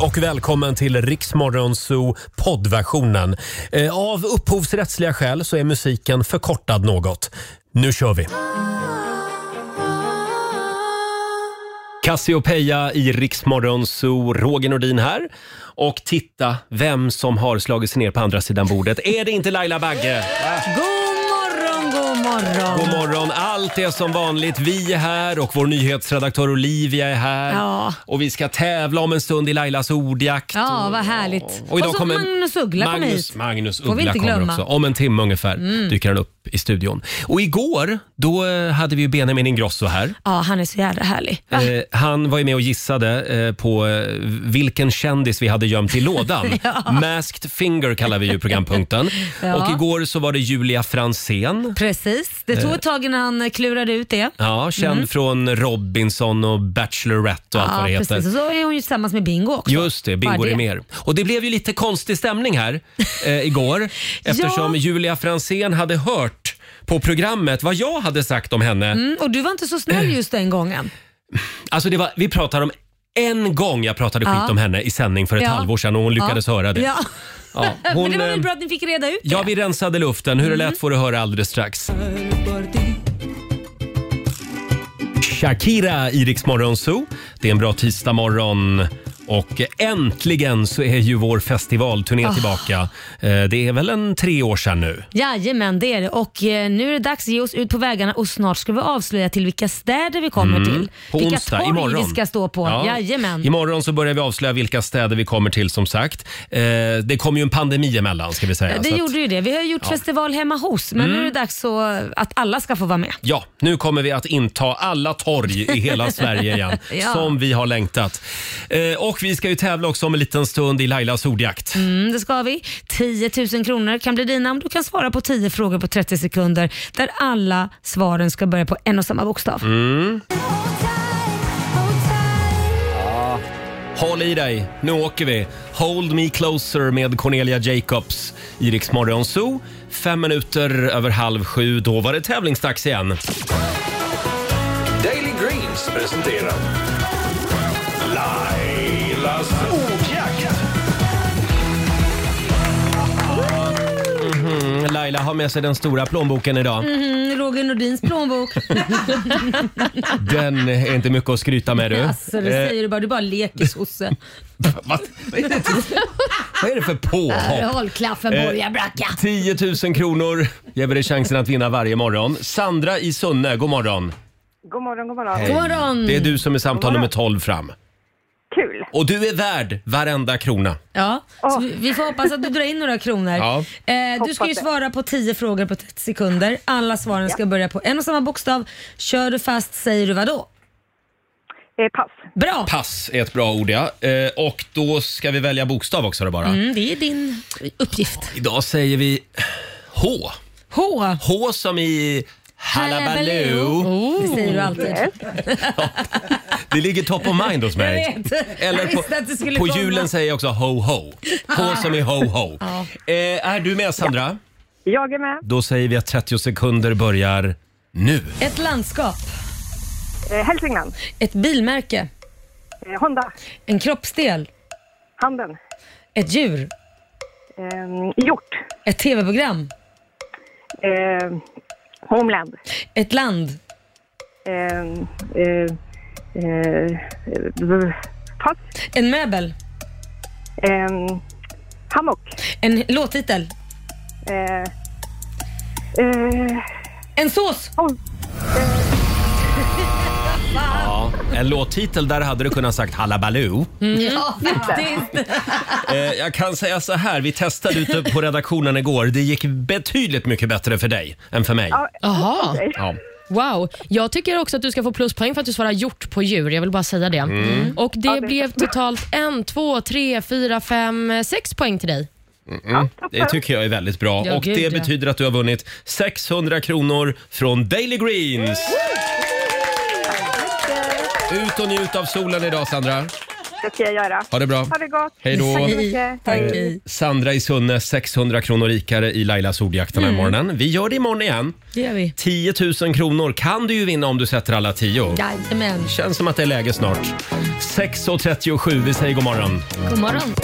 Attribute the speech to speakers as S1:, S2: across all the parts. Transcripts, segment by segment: S1: och välkommen till Riksmorgonzoo poddversionen. Eh, Av upphovsrättsliga skäl så är musiken förkortad något. Nu kör vi! Cassiopeia i Riksmorgonzoo, Roger Nordin här. Och titta vem som har slagit sig ner på andra sidan bordet. Är det inte Laila Bagge?
S2: God morgon, god morgon.
S1: God morgon! Allt är som vanligt. Vi är här och vår nyhetsredaktör Olivia är här.
S2: Ja.
S1: Och vi ska tävla om en stund i Lailas ordjakt.
S2: Ja, vad härligt.
S1: Och idag
S2: så
S1: kommer
S2: Magnus Uggla kom
S1: Magnus,
S2: hit.
S1: Magnus
S2: Får vi
S1: Uggla
S2: inte
S1: kommer
S2: glömma.
S1: också.
S2: Mm.
S1: Om en timme ungefär dyker han upp i studion. Och igår, då eh, hade vi ju Benjamin Ingrosso här.
S2: Ja, han är så jävla härlig. Va?
S1: Eh, han var ju med och gissade eh, på eh, vilken kändis vi hade gömt i lådan. Masked finger kallar vi ju programpunkten.
S2: Ja.
S1: Och igår så var det Julia Fransén.
S2: Precis. Det
S1: Eh.
S2: tog ett tag innan han klurade ut det.
S1: Ja, känd från Robinson och Bachelorette och allt vad det
S2: Mm. Ja,
S1: heter.
S2: precis. Och så är hon ju tillsammans med Bingo också.
S1: Just det, Bingo
S2: Bara det.
S1: mer. Och det blev ju lite konstig stämning här eh, igår eftersom Julia Fransén hade hört på programmet vad jag hade sagt om henne.
S2: Mm, och du var inte så snäll
S1: Eh.
S2: just den gången.
S1: Alltså det var, vi pratar om en gång jag pratade skit
S2: Ja.
S1: om henne i sändning för ett
S2: Ja.
S1: halvår sedan och hon lyckades
S2: ja.
S1: höra det.
S2: Ja.
S1: Ja,
S2: Men
S1: hon,
S2: det var väl
S1: eh,
S2: bra att ni fick reda ut det?
S1: ja, vi rensade luften. Hur det lät får du höra alldeles strax. Shakira i Rix Morgon Zoo. Det är en bra tisdagmorgon och äntligen så är ju vår
S2: Ah.
S1: festivalturné tillbaka. Eh, Det är väl en tre år sedan nu?
S2: Jajamän, det är det. Och eh, nu är det dags att ge oss ut på vägarna och snart ska vi avslöja till vilka städer vi kommer till.
S1: Mm. På
S2: vilka
S1: onsdag,
S2: torg
S1: imorgon.
S2: vi ska stå på.
S1: Ja.
S2: Jajamän.
S1: Imorgon så börjar vi avslöja vilka städer vi kommer till som sagt. Eh, det kom ju en pandemi emellan ska vi säga.
S2: det
S1: så att- Mm.
S2: gjorde ju det. Vi har ju gjort festival hemma hos, men nu är det dags så att alla ska få vara med.
S1: Ja, nu kommer vi att inta alla torg i hela Sverige igen,
S2: Ja.
S1: som vi har längtat. Eh, och vi ska ju tävla också om en liten stund i Lailas ordjakt.
S2: Mm, det ska vi. 10 000 kronor kan bli dina om du kan svara på 10 frågor på 30 sekunder där alla svaren ska börja på en och samma bokstav.
S1: Mm. Håll i dig, nu åker vi. Hold me closer med Cornelia Jacobs i Rix Morgon Zoo. Fem minuter över halv sju, då var det tävlingsdags igen.
S3: Daily Greens presenterar Lailas ordjakt.
S1: Mm, Laila har med sig den stora plånboken idag.
S2: Mm, Roger Nordins plånbok.
S1: Den är inte mycket att skryta med du.
S2: alltså, det
S1: Eh,
S2: säger du bara. Du bara leker sosse.
S1: vad, vad, är det, vad är det för påhopp?
S2: Håll klaffen,
S1: Eh,
S2: borgar, bracka.
S1: 10 000 kronor ger vi dig chansen att vinna varje morgon. Sandra i Sunne, god morgon.
S4: God morgon, god morgon.
S2: God morgon.
S1: Det är du som är samtal nummer 12 fram.
S4: Kul!
S1: Och du är värd varenda krona.
S2: Ja, så vi, vi får hoppas att du drar in några kronor.
S1: Ja.
S2: Eh, du ska ju
S4: Hoppas det.
S2: svara på 10 frågor på 30 sekunder. Alla svaren ska börja på en och samma bokstav. Kör du fast säger du vad då?
S4: Eh, pass.
S2: Bra!
S1: Pass är ett bra ord ja. Eh, Och då ska vi välja bokstav också då bara.
S2: Mm, det är din uppgift.
S1: Idag säger vi H.
S2: H.
S1: H som i Hallabaloo.
S2: Oh. Det säger du alltid.
S1: Det ligger top of mind hos mig.
S2: Jag vet.
S1: Eller
S2: Jag
S1: på,
S2: visste att det skulle
S1: på
S2: komma. Ah.
S1: julen säger jag också ho ho. H som i ho ho. Eh, är du med Sandra?
S4: Jag är med.
S1: Då säger vi att 30 sekunder börjar nu.
S2: Ett landskap.
S4: Eh, Hälsingland.
S2: Ett bilmärke.
S4: Eh, Honda.
S2: En kroppsdel.
S4: Handen.
S2: Ett djur.
S4: Eh, hjort.
S2: Ett tv-program.
S4: Eh, homeland.
S2: Ett land.
S4: Eh, eh, eh, eh, pass.
S2: En möbel.
S4: Eh, hammock.
S2: En låttitel.
S4: Eh, eh,
S2: En sås.
S1: Ja, en låttitel där hade du kunnat sagt Hallabaloo.
S2: Ja, faktiskt.
S1: Eh, jag kan säga så här, vi testade ute på redaktionen igår. Det gick betydligt mycket bättre för dig än för mig.
S5: Jaha,
S1: Ja.
S5: wow. Jag tycker också att du ska få pluspoäng för att du svarar gjort på djur. Jag vill bara säga det.
S1: Mm.
S5: Mm. Och det, blev totalt en, två, tre, fyra, fem, sex poäng till dig.
S1: Mm, Det tycker jag är typ- väldigt bra.
S5: Ja,
S1: Och
S5: gud,
S1: det
S5: ja.
S1: betyder att du har vunnit 600 kronor från Daily Greens. Ut och njut av solen idag Sandra.
S4: Det ska jag göra.
S1: Ha det bra.
S4: Ha det gott.
S1: Hej då. Eh.
S4: Tack så mycket.
S2: Tack.
S1: Sandra i Sunne, 600 kronor rikare i Lailas ordjakt den här morgonen. Vi gör det imorgon igen.
S2: Det gör vi.
S1: 10 000 kronor kan du ju vinna om du sätter alla tio.
S2: Jajamän.
S1: Känns som att det är läge snart. 6.37, vi säger god morgon.
S2: God morgon.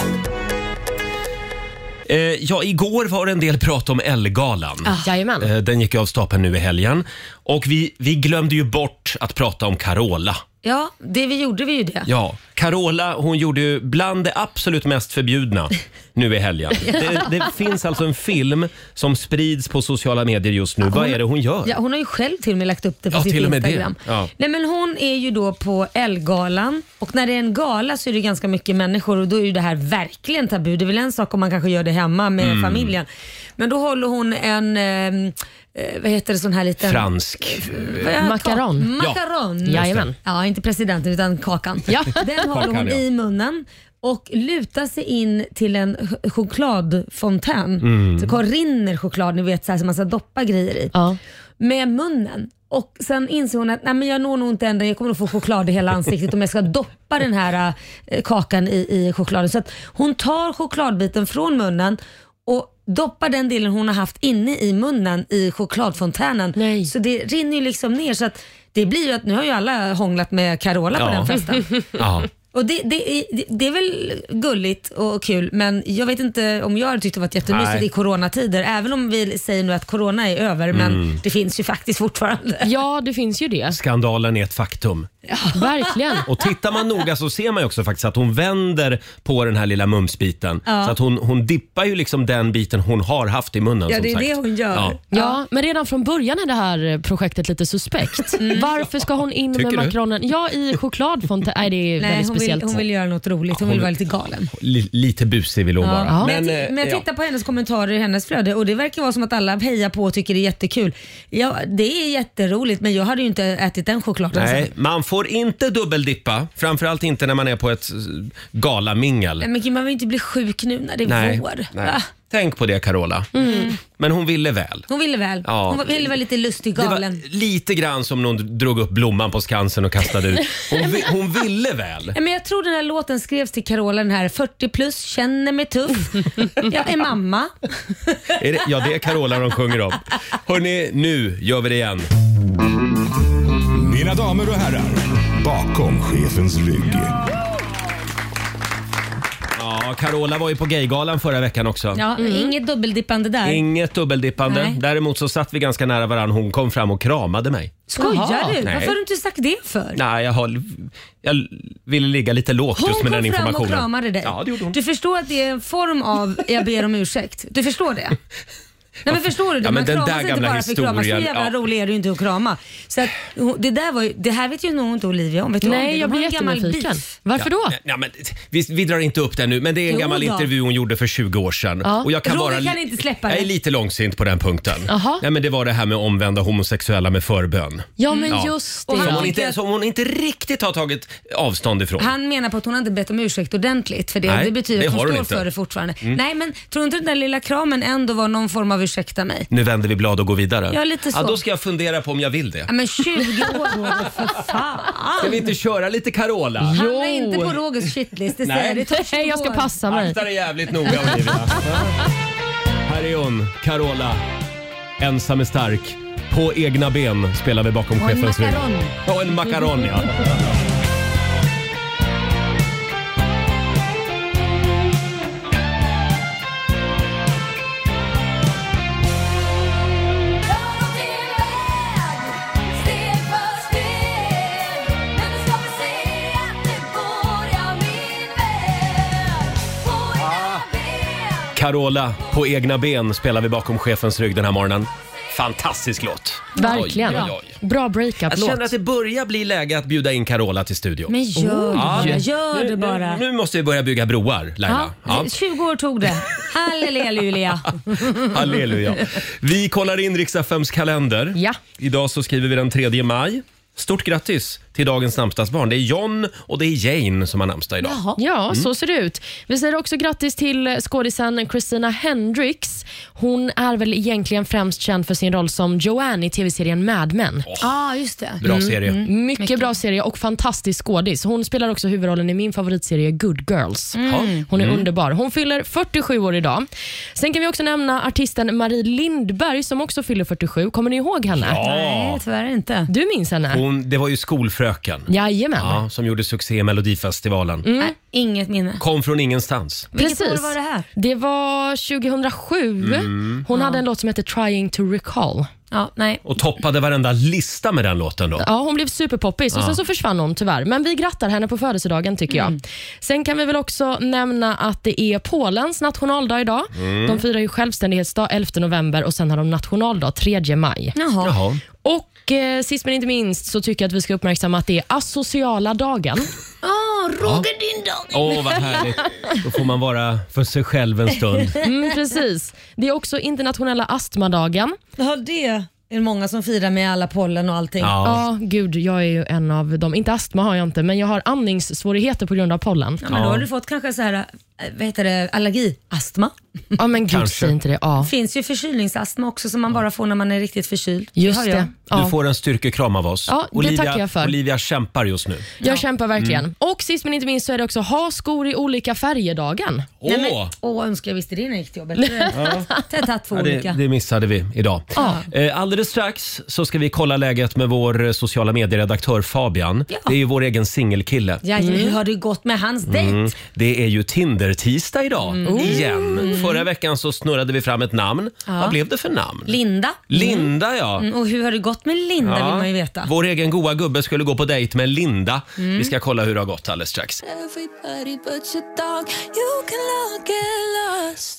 S1: Eh, ja, igår var det en del prat om Ellegalan.
S2: Ah.
S5: Jajamän.
S1: Eh, Den gick ju av stapeln nu i helgen. Och vi, vi glömde ju bort att prata om Carola.
S2: Ja, det vi gjorde vi ju det.
S1: Ja, Carola hon gjorde ju bland det absolut mest förbjudna nu i helgen. Det, det finns alltså en film som sprids på sociala medier just nu. Vad är det hon gör?
S2: Ja, hon har ju själv till och med lagt upp det på
S1: Ja,
S2: sitt
S1: till och med det.
S2: Instagram.
S1: Ja.
S2: Nej, men hon är ju då på Ellegalan och när det är en gala så är det ganska mycket människor och då är ju det här verkligen tabu. Det är väl en sak om man kanske gör det hemma med
S1: Mm.
S2: familjen. Men då håller hon en, ehm, eh, vad heter det, sån här liten...
S1: Fransk.
S2: Vad är det?
S5: Macaron.
S2: Ka- Macaron.
S5: Ja. Jajamän.
S2: Ja, inte presidenten utan kakan.
S5: Ja.
S2: Den håller hon
S1: Kakan, ja.
S2: i munnen och lutar sig in till en ch- chokladfontän.
S1: Mm.
S2: Så kom- rinner choklad, ni vet så här som man ska doppa grejer i.
S5: Ja.
S2: Med munnen. Och Sen insåg hon att Nej, men jag når nog inte ända, jag kommer nog få choklad i hela ansiktet om jag ska doppa den här eh, kakan i, i chokladen. Så att hon tar chokladbiten från munnen och doppar den delen hon har haft inne i munnen i chokladfontänen.
S5: Nej.
S2: Så det rinner ju liksom ner. Så att det blir ju att nu har ju alla hånglat med Carola
S1: Ja.
S2: på den festen.
S1: Ja.
S2: Och det, det, är- det, det är väl gulligt och kul, men jag vet inte om jag hade tyckt det varit jättemysigt
S1: Nej.
S2: i coronatider. Även om vi säger nu att corona är över,
S1: Mm.
S2: men det finns ju faktiskt fortfarande.
S5: ja, det finns ju det.
S1: Skandalen är ett faktum.
S5: Verkligen.
S1: Och tittar man noga så ser man ju också faktiskt att hon vänder på den här lilla mumsbiten. Så att hon, hon dippar ju liksom den biten hon har haft i munnen.
S2: Ja,
S1: som
S2: det är
S1: sagt.
S2: det hon gör.
S1: Ja.
S5: Ja, men redan från början är det här projektet lite suspekt.
S2: Mm.
S5: Varför ska hon in
S1: Tycker
S5: med
S1: du?
S5: makronen? Ja, i chokladfontänen. Nej, det
S2: Nej,
S5: är väldigt
S2: hon vill,
S5: speciellt.
S2: hon vill göra något roligt. Hon vill vara lite galen.
S1: Li- lite busig vill hon vara.
S5: Ja.
S2: Men, jag,
S1: eh,
S2: ti- men jag
S1: ja.
S2: tittar på hennes kommentarer i hennes flöde och det verkar vara som att alla hejar på och tycker det är jättekul. Ja, det är jätteroligt men jag hade ju inte ätit den chokladen.
S1: Nej,
S2: sen.
S1: man får inte dubbeldippa. Framförallt inte när man är på ett eh, galamingel.
S2: Nej, Men gud, man vill ju inte bli sjuk nu när det är vår.
S1: nej.
S2: Ah, Mm.
S1: Tänk på det Carola. Men hon ville väl.
S2: Hon ville väl.
S1: Ja.
S2: Hon var- ville vara lite lustig
S1: Det var
S2: galen.
S1: lite grann som när hon drog upp blomman på Skansen och kastade ut. Hon, vi, hon ville väl.
S2: Ja, Men jag tror den här låten skrevs till Carola, den här 40 plus, känner mig tuff. Jag är mamma.
S1: Är det, ja, det är Carola de sjunger om. Hörni, nu gör vi det igen.
S3: Mina damer och herrar, bakom chefens rygg.
S1: Ja, Carola var ju på Gaygalan förra veckan också.
S2: Ja,
S5: Mm.
S2: Inget dubbeldippande där.
S1: Inget dubbeldippande.
S2: Nej.
S1: Däremot så satt vi ganska nära varandra. Hon kom fram och kramade mig.
S2: Skojar
S5: Jaha,
S2: du?
S1: nej.
S2: Varför har du inte sagt det för?
S1: Nej, jag, har, jag ville ligga lite lågt
S2: Hon
S1: just med den
S2: kom fram
S1: informationen.
S2: och kramade dig.
S1: Ja, det gjorde hon.
S2: Du förstår att det är en form av jag ber om ursäkt. Du förstår det? Nej men förstår du?
S1: Ja, men
S2: Man
S1: den
S2: kramas
S1: där
S2: inte
S1: gamla
S2: bara för att kramas. Så
S1: historien,
S2: jävla
S1: ja.
S2: rolig är du inte att krama. Så att, hon- det, där var ju, det här vet ju nog inte Olivia om. Vet du om det?
S5: Nej,
S2: De
S5: jag blir
S2: har en gammal
S5: jättenyfiken.
S2: beef.
S5: Varför då?
S1: Ja, nej, men, vi, vi drar inte upp det nu, men det är en
S2: Jo
S1: gammal
S2: då.
S1: intervju hon gjorde för 20 år sedan.
S5: Ja.
S1: Och jag kan
S2: Roger
S1: vara, li-
S2: kan inte släppa
S1: Jag
S2: det.
S1: är lite långsint på den punkten.
S5: Jaha.
S1: Nej, men det var det här med omvända homosexuella med förbön.
S5: Ja, men
S1: Mm. Ja.
S5: just det.
S2: Och
S1: Som
S2: han
S1: hon,
S5: ja.
S2: tycker
S1: inte,
S2: att-
S1: som hon inte riktigt har tagit avstånd ifrån.
S2: Han menar på att hon har inte bett om ursäkt ordentligt för det.
S1: Nej,
S2: det betyder
S1: det
S2: att
S1: har hon
S2: hon står
S1: inte. Mm.
S2: för det fortfarande. Nej men tror inte den där lilla kramen ändå var någon form av ursäkta mig?
S1: Nu vänder vi blad och går vidare.
S2: Ja, lite så.
S1: Ja, då ska jag fundera på om jag vill det.
S2: Ja, men 20 år Roger, för
S1: Ska vi
S2: fan.
S1: inte köra lite Carola?
S2: Hamna inte på Rogers shitlist, det säger
S1: Nej.
S2: jag. Det tar 20
S5: Nej, jag ska
S2: år.
S5: passa mig.
S1: Akta dig jävligt noga Olivia. Här är hon, Carola. Ensam är stark. På egna ben spelar vi bakom
S2: Och en
S1: chefens rygg.
S2: macaron.
S1: Och en macaron. ja. Carola, på egna ben spelar vi bakom chefens rygg den här morgonen. Fantastisk låt.
S5: Verkligen.
S1: Oj, oj, oj.
S5: Bra breakup-låt.
S1: Jag känner att det börjar bli läge att bjuda in Carola till studion.
S2: Men gör det bara,
S1: Ja.
S2: gör det bara.
S1: Nu måste vi börja bygga broar, Laila.
S2: Ja,
S1: Ja.
S2: 20 år tog det. Halleluja.
S1: Halleluja. Vi kollar in riksdagsfems kalender.
S5: Ja.
S1: Idag så skriver vi den 3 maj. Stort grattis till dagens namnsdagsbarn. Det är John och det är Jane som har namnsdag idag.
S2: Jaha.
S5: Ja,
S1: mm.
S5: så ser det ut. Vi säger också grattis till skådisen Christina Hendricks. Hon är väl egentligen främst känd för sin roll som Joanne i tv-serien Mad Men.
S2: Ja, ah, just det.
S1: Bra serie.
S5: Mycket, bra serie och fantastisk skådis. Hon spelar också huvudrollen i min favoritserie Good Girls.
S1: Ja.
S5: Hon är underbar. Hon fyller 47 år idag. Sen kan vi också nämna artisten Marie Lindberg som också fyller 47. Kommer ni ihåg henne?
S1: Ja,
S2: Nej, tyvärr inte.
S5: Du minns henne?
S1: hon, det var ju skolfröken
S5: Jajamän.
S1: ja, som gjorde succé i Melodifestivalen.
S2: Nej, inget minne.
S1: Kom från ingenstans.
S2: Vilket
S5: Precis.
S2: år var det här?
S5: Det var 2007. Hon hade en låt som heter Trying to recall.
S2: Ja, nej.
S1: Och toppade varenda lista med den låten då.
S5: Ja, hon blev superpoppis och sen så försvann hon tyvärr. Men vi grattar henne på födelsedagen tycker
S2: Mm.
S5: jag. Sen kan vi väl också nämna att det är Polens nationaldag idag. De firar ju självständighetsdag 11 november och sen har de nationaldag 3 maj.
S2: Jaha.
S1: Jaha.
S5: Och eh, sist men inte minst så tycker jag att vi ska uppmärksamma att det är asociala dagen.
S2: Ah, Roger din dag.
S1: Åh, vad härligt. Då får man vara för sig själv en stund.
S5: Mm, precis. Det är också internationella astmadagen.
S2: Ja, det är det många som firar med alla pollen och allting.
S1: Ja.
S5: Ja, gud, jag är ju en av dem. Inte astma har jag inte, men jag har andningssvårigheter på grund av pollen.
S2: Ja, men då har du fått kanske så här, eh, vad heter det, allergi, astma.
S5: Ja, men gud,
S1: Kanske.
S5: säg inte det. Ja,
S2: finns ju förkylningsastma också som man bara får när man är riktigt förkyld.
S5: just
S2: har jag.
S5: det. Ja.
S1: Du får en styrkekram av oss.
S5: Ja, det tackar jag för.
S1: Olivia kämpar just nu.
S5: Jag kämpar verkligen. Och sist men inte minst så är det också ha skor i olika färger-dagen.
S1: Åh!
S2: Nej, men, åh, önskar jag visste det när jag gick till jobbet. Ja. Det har tagit två
S1: Ja, det,
S2: olika.
S1: det missade vi idag.
S5: Ja.
S1: Eh, Alldeles strax så ska vi kolla läget med vår eh, sociala medieredaktör Fabian.
S2: Ja.
S1: Det är ju vår egen singelkille.
S2: Ja, hur
S1: Mm.
S2: har det gått med hans dejt?
S1: Det är ju Tinder-tisdag idag,
S2: Mm.
S1: igen. Förra veckan så snurrade vi fram ett namn. Vad blev det för namn?
S2: Linda.
S1: Linda, ja.
S2: Mm, Och hur har det gått med Linda
S1: Ja.
S2: vill man ju veta. Mm.
S1: Vår egen goa gubbe skulle gå på dejt med Linda. Vi ska kolla hur det har gått alldeles strax.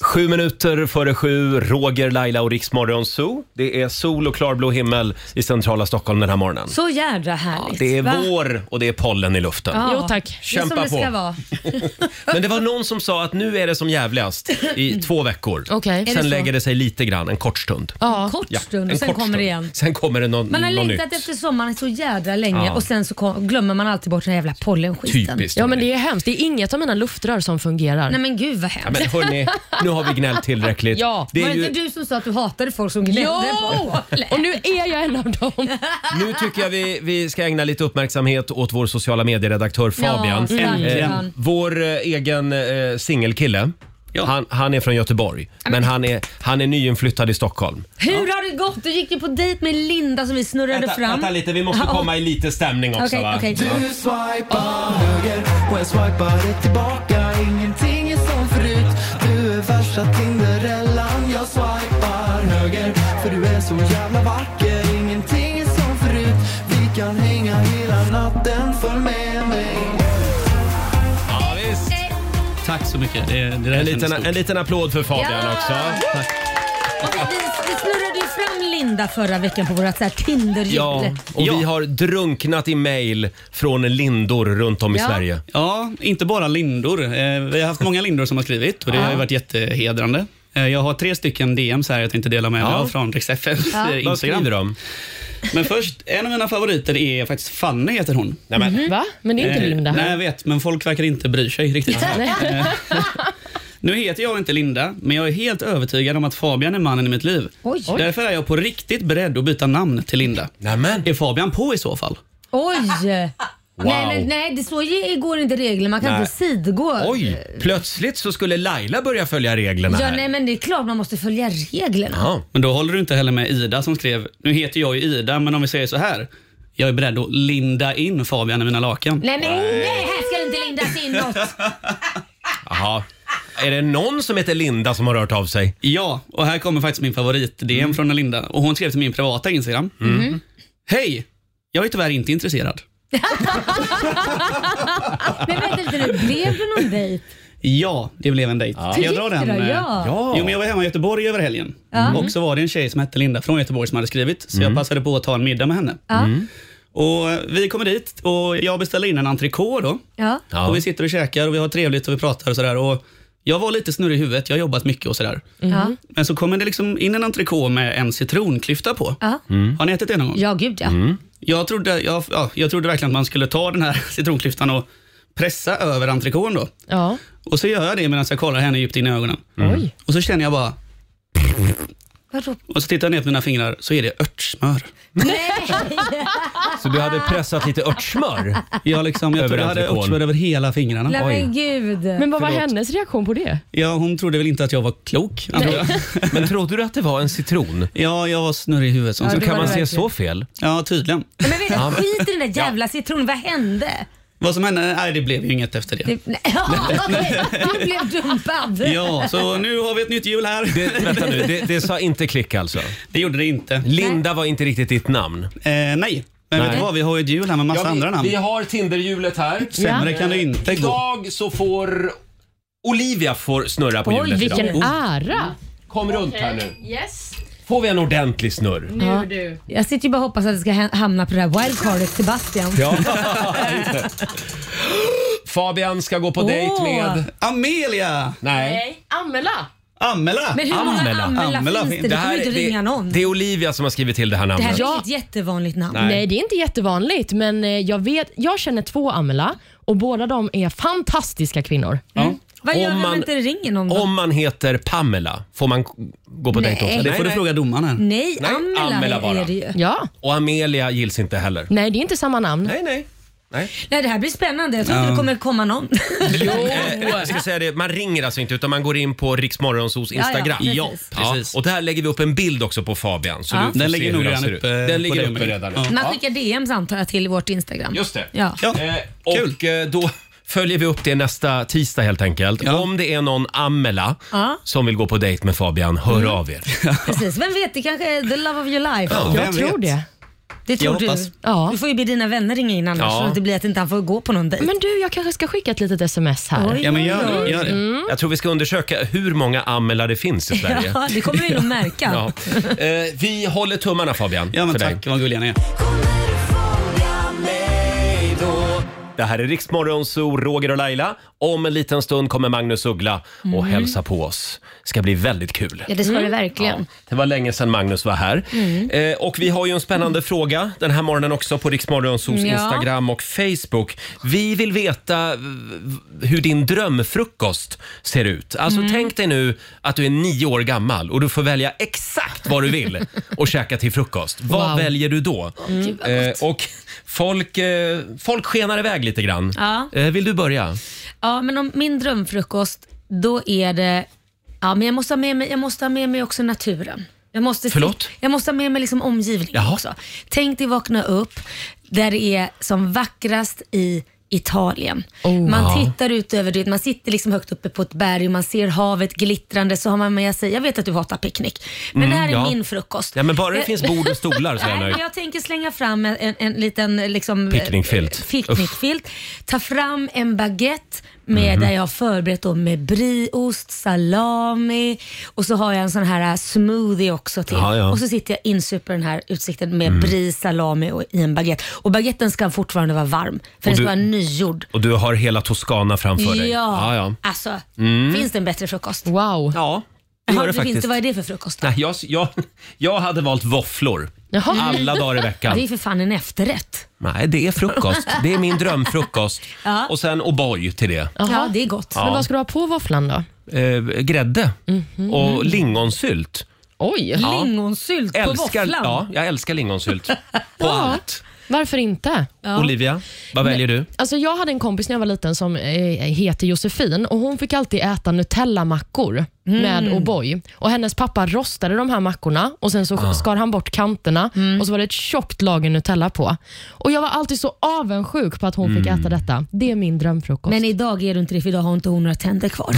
S1: Sju minuter före sju, Roger, Laila och Riksmorgon Zoo. Det är sol och klarblå himmel i centrala Stockholm den här morgonen.
S2: Så jädra härligt.
S1: Det är
S2: va?
S1: vår och det är pollen i luften.
S2: Ja.
S5: Jo tack.
S2: Det är som
S1: Kämpa
S2: det ska
S1: på.
S2: vara.
S1: Men det var någon som sa att nu är det som jävligast i två veckor.
S5: Okej. Är det
S1: Sen
S5: så?
S1: lägger det sig lite grann, en kort stund.
S2: En kort
S1: Ja,
S2: stund
S1: en
S2: och sen
S1: kort
S2: kommer
S1: stund.
S2: det igen.
S1: Sen kommer det någon,
S2: Man har
S1: någon
S2: längtat
S1: nytt.
S2: efter sommaren så jädra länge
S1: Ja.
S2: och sen så kom, glömmer man alltid bort den här jävla pollenskiten.
S1: Typiskt.
S5: Ja men
S1: hörni.
S5: det är hemskt. Det är inget av mina luftrör som fungerar.
S2: Nej men gud vad
S1: Ja,
S2: hemskt.
S1: men hörni, nu har vi gnällt tillräckligt.
S5: Ja,
S1: det
S2: var
S1: är
S2: det
S1: ju,
S2: inte du som sa att du hatade folk som gnällde
S5: Jo!
S2: på pollen?
S5: Och nu är jag en av dem.
S1: nu tycker jag vi, vi ska ägna lite uppmärksamhet åt vår sociala medieredaktör Fabian.
S2: stackarn.
S1: Eh, vår eh, egen eh, singelkille. Han, han är från Göteborg, men han är, han är nyinflyttad i Stockholm.
S2: Hur har det gått? Du gick ju på dejt med Linda som vi snurrade fram. Ja, och-
S1: i lite stämning
S2: Okej, okej.
S6: Du swipar höger och jag swipar det tillbaka Ingenting är som förut Du är värsta Tinderellan Jag swipar höger för du är så jävla vacker Ingenting är som förut Vi kan hänga hela natten, följ med mig
S1: Ja, visst.
S7: Tack så mycket. Det, det där
S1: En
S7: kändes
S1: liten,
S7: stort.
S1: en liten applåd för Fabian
S2: Ja!
S1: också.
S2: Och vi, vi, vi snurrade ju fram Linda förra veckan på vårat så här Tinder-hjul.
S1: Ja, och
S7: Ja.
S1: vi har drunknat i mail från lindor runt om i
S2: Ja.
S1: Sverige.
S7: Ja, inte bara lindor. Eh, Vi har haft många lindor som har skrivit och det har ju varit jättehedrande. Eh, Jag har tre stycken DMs här jag tänkte dela med mig
S1: Ja.
S7: av från Rix FM eh,
S1: Vad skriver
S7: Instagram.
S1: de?
S7: Men först, en av mina favoriter är faktiskt Fanny heter hon.
S1: Nej, men,
S5: Va? Men det är inte
S7: Eh,
S5: Linda.
S7: Nej, jag vet, men folk verkar inte bry sig riktigt. Eh, nu heter jag inte Linda, men jag är helt övertygad om att Fabian är mannen i mitt liv.
S2: Oj.
S7: Därför är jag på riktigt beredd att byta namn till Linda.
S1: Nämen.
S7: Är Fabian på i så fall?
S2: Oj! Nej, men, nej, det så ge- går inte regler. Man kan
S1: Nej.
S2: inte sidgå.
S1: Oj, plötsligt så skulle Laila börja följa reglerna
S2: Ja,
S1: här.
S2: nej, men det är klart man måste följa reglerna.
S1: Ja.
S7: Men då håller du inte heller med Ida som skrev, nu heter jag ju Ida, men om vi säger så här. Jag är beredd att linda in Fabian i mina lakan.
S2: Nej, men nej, här ska det inte lindas in något.
S1: Jaha. Är det någon som heter Linda som har hört av sig?
S7: Ja, och här kommer faktiskt min favorit-DM
S1: Mm.
S7: från Linda. Och hon skrev till min privata Instagram.
S2: Mm.
S7: Hej! Jag är tyvärr inte intresserad.
S2: Men vänta lite nu, blev det någon dejt?
S7: Ja, det blev en dejt. Ska jag dra
S2: Gick det
S7: den?
S2: då?
S7: eh,
S2: Ja. Mm.
S1: Ja.
S7: Jo, men jag var hemma i Göteborg över helgen. Och så var det en tjej som hette Linda från Göteborg som hade skrivit. Så
S1: Mm.
S7: jag passade på att ta en middag med henne.
S2: Ja.
S7: Och eh, vi kommer dit och jag beställer in en entrecote då.
S2: Ja.
S1: Ja.
S7: Och vi sitter och käkar och vi har trevligt och vi pratar och sådär. Och jag var lite snurrig i huvudet, jag har jobbat mycket och sådär.
S1: Mm.
S2: Ja.
S7: Men så kommer det liksom in en entrecote med en citronklyfta på.
S2: Ja.
S1: Mm.
S7: Har ni ätit det någon gång?
S2: ja, gud ja.
S7: Jag trodde, jag, ja, jag trodde verkligen att man skulle ta den här citronklyftan och pressa över entrecôten då.
S5: Ja.
S7: Och så gör jag det medan jag kollar henne djupt in i ögonen.
S1: Mm.
S5: Oj.
S7: Och så känner jag bara,
S2: Vadå?
S7: och så tittar jag ner på mina fingrar, så är det örtsmör.
S1: Så du hade pressat lite örtsmör?
S7: Jag, liksom, jag
S1: Över
S7: tror jag hade
S1: entrecôten.
S7: örtsmör över hela fingrarna.
S2: Nej men gud.
S5: Men vad var
S7: Förlåt.
S5: hennes reaktion på det?
S7: Ja, hon trodde väl inte att jag var klok. antar jag.
S1: Men trodde du att det var en citron?
S7: Ja, jag var snurrig i huvudet. Som
S2: Ja,
S7: sagt.
S2: det
S1: Kan
S2: var
S1: man
S2: det
S1: se så
S2: verkligen.
S1: fel?
S7: ja, tydligen.
S2: Nej, men vet du, skit i den där jävla citronen, vad hände?
S7: Vad som hände, nej det blev ju inget efter det.
S2: Det, nej, ja, okej, du blev dumpad.
S7: Ja, så nu har vi ett nytt hjul här.
S1: Det, vänta nu, det, det sa inte klick alltså?
S7: Det gjorde det inte.
S1: Linda var inte riktigt ditt namn.
S7: Eh, nej, men
S1: Nej.
S7: vet du vad? Vi har ju ett hjul här med massa andra namn.
S1: har Tinderhjulet här.
S7: Sämre kan det inte gå.
S1: Idag så får Olivia får snurra på
S5: Oj,
S1: hjulet
S5: vilken
S1: idag. Oh.
S5: ära.
S1: Kom runt här nu.
S5: Yes, Mm.
S1: Får vi en ordentlig snurr?
S5: nu du.
S2: Jag sitter ju bara och hoppas att det ska hä- hamna på det där wildcardet Sebastian.
S1: Ja. Fabian ska gå på
S2: Åh.
S1: dejt med...
S7: Amelia!
S1: Nej.
S5: Nej, Amela.
S7: Amela!
S2: Men hur många
S1: Amela.
S2: Amela,
S7: Amela
S2: finns
S7: finns.
S2: det?
S7: Det
S2: Det kommer inte ringa någon.
S1: det,
S2: Det,
S1: det är Olivia som har skrivit till det här namnet.
S2: här
S5: Ja.
S2: är ett jättevanligt namn.
S1: Nej.
S5: Nej, det är inte jättevanligt, men eh, jag, vet, jag känner två Amela och båda de är fantastiska kvinnor.
S7: Ja.
S2: Vad gör
S1: Om
S2: vi om
S1: man-
S2: inte det ringer någon då?
S1: Om man heter Pamela, får man k- gå på dejt också?
S2: Nej.
S7: Det får du
S1: nej.
S7: fråga domaren här.
S2: Nej,
S1: Nej,
S2: Amela,
S1: Amela bara.
S2: är det ju.
S5: Ja,
S1: Och Amelia gills inte heller.
S5: nej det är inte samma namn.
S1: Nej, nej. nej.
S2: Nej, det här blir spännande. Jag tror inte det kommer komma någon.
S1: Eh, Jag ska säga det, man ringer alltså inte utan man går in på Riksmorgonsos
S2: ja,
S1: Instagram.
S2: precis.
S1: Ja,
S7: precis.
S1: Och där lägger vi upp en bild också på Fabian. Så
S2: Ja.
S1: du får
S7: Den
S1: se
S7: ligger
S1: hur
S7: nog
S1: han
S7: redan
S1: ser
S7: uppe
S1: ut. Den
S7: på
S1: ligger
S7: det
S1: uppe
S7: mejlet.
S1: redan nu.
S7: Ja.
S2: Man skickar DMs antar jag till vårt Instagram.
S1: Just det.
S2: Ja.
S7: Ja.
S1: Eh,
S7: Kul.
S1: och eh, då följer vi upp det nästa tisdag helt enkelt.
S7: Ja.
S1: Om det är någon Amela
S2: Ja.
S1: som vill gå på dejt med Fabian, hör
S7: Mm.
S1: av er.
S2: Precis. Vem vet, det kanske är the love of your life.
S7: Vem
S5: Jag tror
S7: vet?
S5: det.
S2: Det tror
S7: Jag
S2: du.
S7: hoppas.
S5: Ja.
S2: Du får ju be dina vänner ringa in annars
S1: Ja.
S2: så att det blir att inte han får gå på någon dejt.
S5: Men du, jag kanske ska skicka ett litet sms här.
S2: Oj,
S7: Ja, men
S2: oj,
S7: gör
S2: oj.
S7: det. Gör det.
S1: Jag tror vi ska undersöka hur många Amela det finns i Sverige.
S2: Mm. Ja, det kommer vi nog märka.
S1: Ja. Eh, vi håller tummarna Fabian.
S7: Ja, men
S1: för
S7: tack. Vad gulliga ni är.
S1: Det här är Riksmorgon, så Roger och Laila. Om en liten stund kommer Magnus Uggla och
S2: Mm.
S1: hälsa på oss. ska bli väldigt kul.
S2: Ja, det ska det verkligen.
S1: Det var länge sedan Magnus var här. Eh, och vi har ju en spännande fråga den här morgonen också på Riksmorgonsos
S2: Ja.
S1: Instagram och Facebook. Vi vill veta eh, hur din drömfrukost ser ut. Alltså tänk dig nu att du är nio år gammal och du får välja exakt vad du vill och käka till frukost. Vad
S5: Wow.
S1: väljer du då? Eh, och folk, eh, folk skenar iväg lite grann.
S2: Ja.
S1: Eh, vill du börja?
S2: Ja, men om min drömfrukost, då är det... Ja, men jag måste ha med mig, jag måste ha med mig också naturen. Jag måste,
S1: Förlåt?
S2: Jag måste ha med mig liksom omgivningen
S1: Jaha.
S2: också. Tänk dig vakna upp där det är som vackrast i Italien.
S1: Oh.
S2: Man tittar ut över det, man sitter liksom högt uppe på ett berg och man ser havet glittrande så har man med sig, jag vet att du hatar picknick, men det här är
S1: Mm, ja.
S2: min frukost.
S1: Ja, men bara det finns bord och stolar så är jag
S2: Nej,
S1: nöjd.
S2: men jag tänker slänga fram en, en, en liten eh, liksom,
S1: Picknickfilt.
S2: eh, picknickfilt. Ta fram en baguette med,
S1: Mhm.
S2: där jag har förberett då med brieost, salami och så har jag en sån här eh, smoothie också till.
S1: Ja, ja. Mm.
S2: Och så sitter jag insuper den här utsikten med brie, salami och i en baguette. Och baguetten ska fortfarande vara varm för den
S1: du-
S2: ska vara nygjord.
S1: Och du har hela Toscana framför dig. Ja,
S2: Ja,
S1: ja.
S2: alltså finns det en bättre frukost?
S5: Wow.
S1: ja det gör
S2: Jaha,
S1: det
S2: det finns
S1: faktiskt.
S2: det, vad är det för frukost? då?
S1: Nej, jag, jag, jag hade valt våfflor
S5: Jaha.
S1: alla dagar i
S2: Det är ju
S1: veckan.
S2: för fan en efterrätt.
S1: Nej, det är frukost. Det är min drömfrukost.
S2: Ja.
S1: Och sen O'boy till det.
S5: Jaha.
S2: Ja, det är gott.
S5: Men vad ska du ha på våfflan då?
S1: Eh, grädde
S2: Mhm.
S1: och lingonsylt.
S5: Oj.
S2: Lingonsylt på
S1: Älskar,
S2: våfflan.
S1: ja, jag älskar lingonsylt. På allt.
S5: Varför inte?
S1: Olivia, vad väljer du?
S5: Alltså jag hade en kompis när jag var liten som eh, heter Josefin och hon fick alltid äta Nutella-mackor
S2: Mm.
S5: med O'boy. Och hennes pappa rostade de här mackorna och sen så
S1: Ah.
S5: skar han bort kanterna
S2: Mm.
S5: och så var det ett tjockt lager Nutella på. Och Jag var alltid så avundsjuk på att hon
S1: Mm.
S5: fick äta detta. Det är min drömfrukost.
S2: Men idag är du inte det för idag har inte hon några tänder kvar.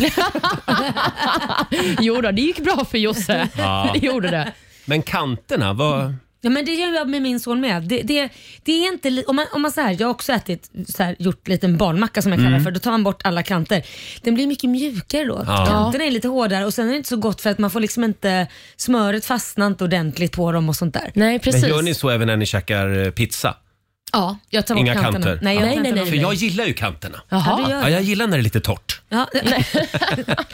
S5: Jo då, det gick bra för Josse. Det gjorde det.
S1: Men kanterna, vad...
S2: ja, men det gör jag med min son med. Det, det, det är inte li- om man, om man så här, jag har också ätit, så här, gjort liten barnmacka som jag kallar för. Då tar man bort alla kanter. Den blir mycket mjukare då. Kanterna är lite hårdare och sen är det inte så gott för att man får liksom inte, smöret fastnar inte ordentligt på dem och sånt där.
S5: Nej,
S1: Men
S5: precis.
S1: gör ni så även när ni käkar eh, pizza?
S2: Ja, jag tar bort
S1: Inga
S2: kanterna.
S1: kanter.
S2: Nej, jag
S5: Nej,
S2: tar inte
S5: nej,
S2: bort
S1: För
S5: nej.
S1: jag gillar ju kanterna.
S2: Ja, du
S5: Jaha.
S2: gör
S1: Ja,
S2: det.
S1: jag gillar när det är lite torrt.
S2: Ja,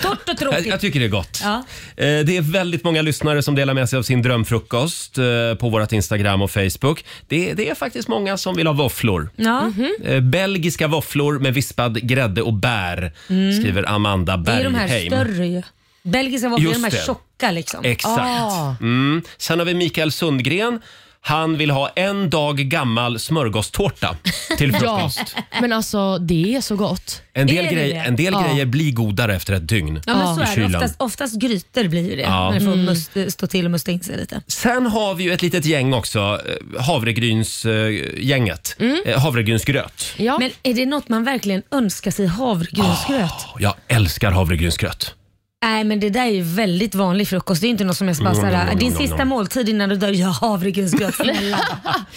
S2: Torrt och
S1: Jag,
S2: tråkigt.
S1: jag tycker det är gott.
S2: Ja.
S1: Eh, Det är väldigt många lyssnare som delar med sig av sin drömfrukost eh, på vårt Instagram och Facebook. Det, det är faktiskt många som vill ha våfflor.
S2: Ja.
S1: Eh, Belgiska våfflor med vispad grädde och bär, skriver Amanda
S2: Mm. Det är
S1: Bergheim.
S2: ju de här större ju. Belgiska våfflor är
S1: Just
S2: de här
S1: det.
S2: tjocka liksom.
S1: Exakt.
S5: Ah.
S1: Mm. Sen har vi Mikael Sundgren. Han vill ha en dag gammal smörgåstårta till
S5: Ja,
S1: frukost.
S5: men alltså det är så gott.
S1: En
S2: Är
S1: del,
S2: det
S1: grej,
S2: det?
S1: en del
S5: Ja.
S1: grejer blir godare efter ett dygn.
S2: Ja, men
S5: Ja.
S2: så
S1: I
S2: är det.
S1: kylan.
S2: Oftast, oftast grytor blir ju det.
S1: Ja.
S2: När det
S5: Mm.
S2: får must, stå till och musta in sig lite.
S1: Sen har vi ju ett litet gäng också, eh, havregrynsgänget.
S2: Mm.
S1: Eh, Havregrynsgröt.
S5: Ja.
S2: Men är det något man verkligen önskar sig? Havregrynsgröt?
S1: Åh, jag älskar havregrynsgröt.
S2: Nej, men det där är ju väldigt vanlig frukost. Det är ju inte något som jag bara
S1: Mm,
S2: såhär,
S1: mm,
S2: din
S1: mm,
S2: sista
S1: mm.
S2: måltid innan du dör, gör havregrynsgröt snälla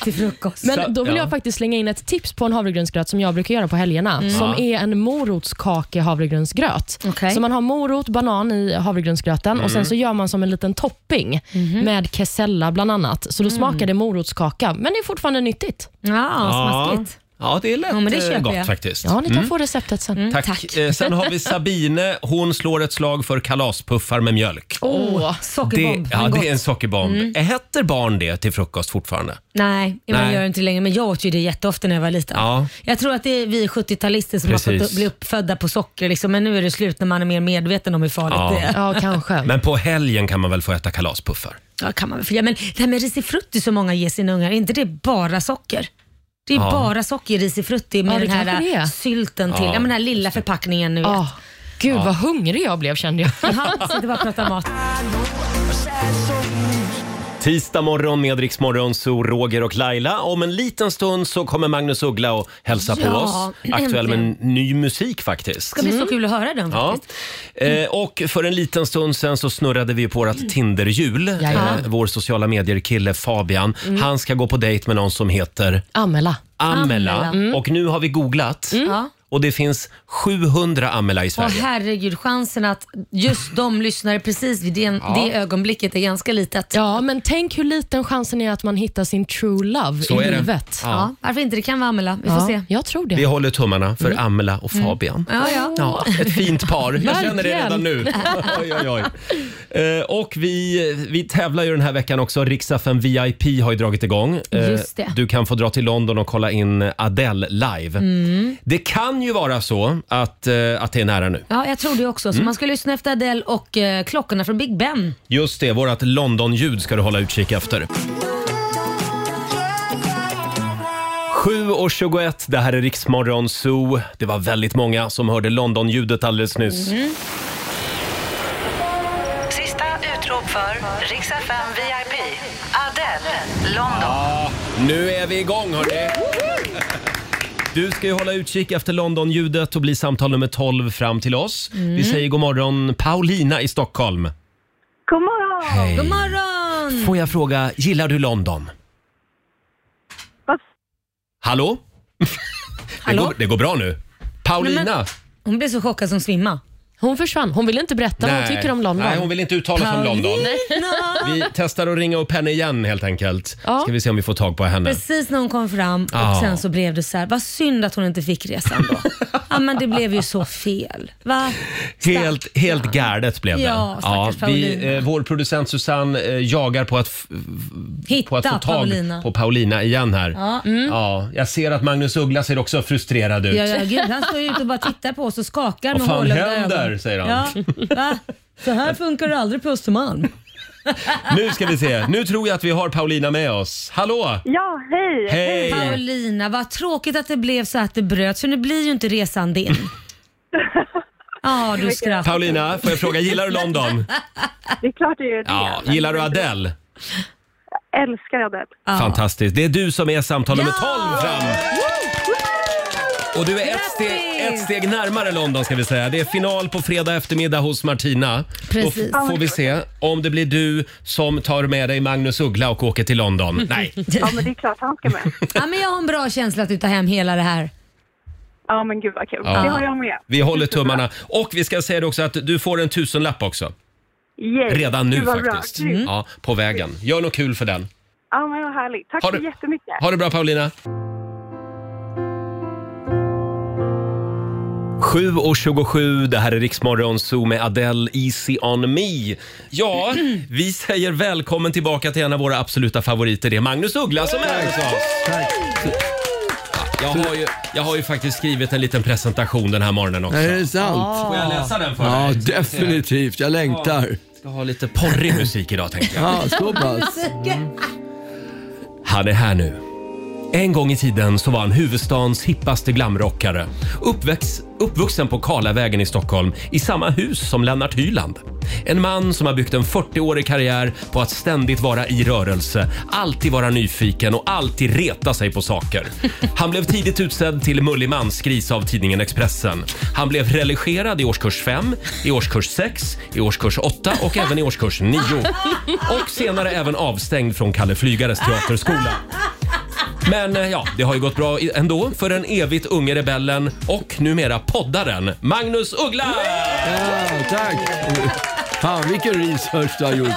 S2: till frukost.
S1: Så-
S5: Men då vill
S1: ja.
S5: jag faktiskt slänga in ett tips på en havregrynsgröt som jag brukar göra på helgerna. Som
S1: Mm. Ja.
S5: är en morotskake havregrynsgröt.
S2: Okej.
S5: Så man har morot, banan i havregrynsgröten och
S1: Mm.
S5: sen så gör man som en liten topping
S2: Mhm.
S5: med kesella bland annat. Så då
S2: Mm.
S5: smakar det morotskaka, men det är fortfarande nyttigt.
S2: ja, smaskigt.
S1: Ja, det är lätt
S2: Ja, men det
S1: eh,
S2: köper
S1: gott
S2: jag.
S1: faktiskt.
S5: Ja, ni kan få receptet sen.
S2: Mm.
S1: Tack.
S2: tack.
S1: Eh, Sen har vi Sabine. Hon slår ett slag för kalaspuffar med mjölk.
S5: Åh.
S2: Sockerbomb,
S1: det, ja,
S2: men gott. Mm.
S1: det är en sockerbomb. Heter barn det till frukost fortfarande?
S2: Nej, man
S1: Nej.
S2: gör det inte längre. Men jag åt ju det jätteofta när jag var liten.
S1: Ja.
S2: Jag tror att det är vi 70-talister som har
S1: Precis.
S2: fått bli uppfödda på socker. Liksom. Men nu är det slut när man är mer medveten om hur farligt
S1: Ja.
S2: det är.
S5: Ja, kanske.
S1: Men på helgen kan man väl få äta kalaspuffar?
S2: Ja, kan man väl få göra. Men det här med risifrutti som många ger sina ungar, är inte det bara socker? Det är
S1: Ja.
S2: bara socker i risifrutti med
S5: Ja, det
S2: den här äh,
S5: kanske det är.
S2: sylten till.
S1: Ja,
S2: Ja, men den här lilla förpackningen nu.
S5: Ah. Gud, vad hungrig jag blev kände jag.
S2: Jaha, så det bara prata mat.
S1: Tisdag morgon med Rix Morgon, så Roger och Laila. Om en liten stund så kommer Magnus Uggla och hälsa på
S2: Ja,
S1: oss. Aktuell med ny musik faktiskt.
S2: Det ska
S5: Mm.
S2: bli så kul att höra den
S1: Ja.
S2: faktiskt.
S1: Eh, och för en liten stund sen så snurrade vi på
S2: Mm.
S1: vårt Tinderhjul. Eh,
S5: Jajamän.
S1: vår sociala medier-kille Fabian.
S2: Mm.
S1: Han ska gå på dejt med någon som heter
S5: Amela.
S1: Amela.
S2: Amela. Mm.
S1: Och nu har vi googlat
S2: Ja.
S1: och det finns 700 Amela i
S2: Åh
S1: Sverige.
S2: herregud, chansen att just de lyssnare precis vid den, det ögonblicket är ganska litet.
S5: Ja, men tänk hur liten chansen är att man hittar sin true love
S1: Så
S5: i
S1: är det.
S5: livet.
S1: Ja.
S2: Ja, varför inte? Det kan vara Amela. Vi får
S5: Ja,
S2: se.
S5: jag tror det.
S1: Vi håller tummarna för
S2: Mm.
S1: Amela och Fabian.
S2: Ja, ja.
S1: Ja, ett fint par. Jag känner det
S5: Verkligen.
S1: redan nu. Oj, oj, oj. Eh, och vi, vi tävlar ju den här veckan också. Riksdagen VIP har ju dragit igång. Eh,
S2: Just det.
S1: Du kan få dra till London och kolla in Adele live. Det kan ju vara så att, eh, att det är nära nu.
S2: Ja, jag tror det också.
S1: Mm.
S2: Så man ska lyssna efter Adele och eh, klockorna från Big Ben.
S1: Just det, vårt London-ljud ska du hålla utkik efter. 7.21, det här är Riksmorgon Zoo. Det var väldigt många som hörde London-ljudet alldeles nyss.
S8: Mm. Sista utrop för Rix FM VIP. Adele, London.
S1: Nu är vi igång hörni! Du ska ju hålla utkik efter London-ljudet och bli samtal nummer 12 fram till oss. Vi säger god morgon Paulina i Stockholm.
S4: God morgon!
S2: God
S1: Mm.
S2: morgon!
S1: Får jag fråga, gillar du London?
S4: Vad-
S1: Hallå?
S2: Hallå?
S1: Det, går, det går bra nu. Paulina!
S2: Nej, men- Hon blev så chockad som svimma.
S5: Hon försvann. Hon ville inte berätta vad hon tycker om London.
S1: Nej, hon vill inte uttala sig om London. Vi testar att ringa upp henne igen helt enkelt.
S5: Ja.
S1: Ska vi se om vi får tag på henne.
S2: Precis när hon kom fram
S1: Ja.
S2: och sen så blev det så här, vad synd att hon inte fick resan då. ja men det blev ju så fel. Va?
S1: Helt, helt galet blev det.
S2: Ja, stackars
S1: vi,
S2: Paulina.
S1: eh, vår producent Susanne eh, jagar på att f- på
S2: Hitta
S1: att få tag
S2: Paulina.
S1: på Paulina igen här.
S2: Ja. mm.
S1: Ja, jag ser att Magnus Uggla ser också frustrerad ut.
S2: Ja, ja, gud, han står ju ute och bara tittar på oss och skakar
S1: Vad
S2: med
S1: fan
S2: hålögda
S1: händer,
S2: ögon.
S1: säger han.
S2: Ja, va? Så här funkar det aldrig på Östermalm.
S1: Nu ska vi se. Nu tror jag att vi har Paulina med oss. Hallå!
S4: Ja, hej!
S1: Hej!
S2: Paulina, vad tråkigt att det blev så att det bröt för nu blir ju inte resan din. Ja, du skrattar.
S1: Alltså, Paulina, får jag fråga, gillar du London?
S4: Det är klart det är det.
S1: Ja, gillar du Adele?
S4: Älskar Adele.
S1: Fantastiskt. Det är du som är samtal nummer
S2: Ja!
S1: 12 fram. Och du är ett
S2: Grattis!
S1: steg, ett steg närmare London ska vi säga. Det är final på fredag eftermiddag hos Martina.
S2: Precis.
S1: Då f- får vi se om det blir du som tar med dig Magnus Uggla och åker till London. Nej.
S4: Ja, men det är klart han ska med.
S2: Ja, men jag har en bra känsla att du tar hem hela det här.
S4: Ja, men gud vad kul. Det har jag med.
S1: Vi håller tummarna. Och vi ska säga det också att du får en tusenlapp också.
S4: Yay.
S1: Redan nu
S4: Gud, vad bra.
S1: faktiskt.
S4: Grymt.
S1: Ja, på vägen. Gör något kul för den.
S4: Ja, men vad härligt. Tack
S1: Ha
S4: så
S1: det-
S4: jättemycket.
S1: Ha det bra Paulina. 7.27, det här är Riksmorgon Zoo med Adele, Easy On Me. Ja, vi säger välkommen tillbaka till en av våra absoluta favoriter. Det är Magnus Uggla som är här hos oss.
S9: Tack.
S1: Jag har, ju, jag har ju faktiskt skrivit en liten presentation den här morgonen också.
S9: Är det sant?
S1: Får jag läsa den för
S9: Ja,
S1: dig?
S9: definitivt. Jag längtar.
S1: Jag har lite porrig musik idag tänkte jag.
S9: Ja, så pass.
S1: Han är här nu. En gång i tiden så var han huvudstans hippaste glamrockare. Uppväxt, uppvuxen på Karlavägen i Stockholm i samma hus som Lennart Hyland. En man som har byggt en 40-årig karriär på att ständigt vara i rörelse, alltid vara nyfiken och alltid reta sig på saker. Han blev tidigt utsedd till mullig mansgris av tidningen Expressen. Han blev religerad i årskurs 5, i årskurs 6, i årskurs 8 och även i årskurs 9. Och senare även avstängd från Kalle Flygares teaterskola. Men eh, ja, det har ju gått bra i- ändå för den evigt unge rebellen och numera poddaren Magnus Uggla!
S9: Ja, tack. Fan, vilken research du har gjort.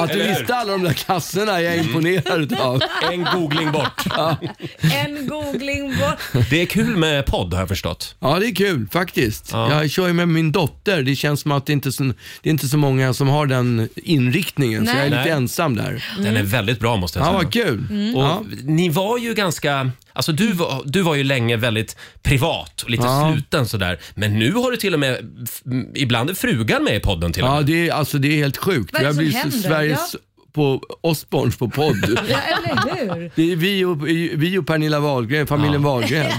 S9: Att du
S1: Eller hur?
S9: visste alla de där kassorna är jag
S1: Mm.
S9: imponerad av.
S1: En googling bort.
S2: En googling bort.
S1: Det är kul med podd har jag förstått.
S9: Ja, det är kul faktiskt. Jag kör ju med min dotter. Det känns som att det inte är så, det är inte så många som har den inriktningen, så
S2: Nej.
S9: jag är lite
S1: Nej.
S9: ensam där.
S1: Den är väldigt bra måste jag
S9: Mm. Ja,
S1: säga.
S9: vad kul.
S1: Och
S9: Ja.
S1: Ni var ju ganska, alltså du var, du var ju länge väldigt privat och lite
S9: Ja.
S1: sluten sådär. Men nu har du till och med, f- ibland är frugan med i podden till och
S9: Ja,
S1: med.
S9: det är, alltså, det är helt sjukt.
S2: Vad är det
S9: Jag
S2: som
S9: blir
S2: händer?
S9: Sveriges på Osborns på podd.
S2: Ja, eller hur?
S9: Det är vi och, vi och Pernilla Wahlgren, familjen Wahlgren.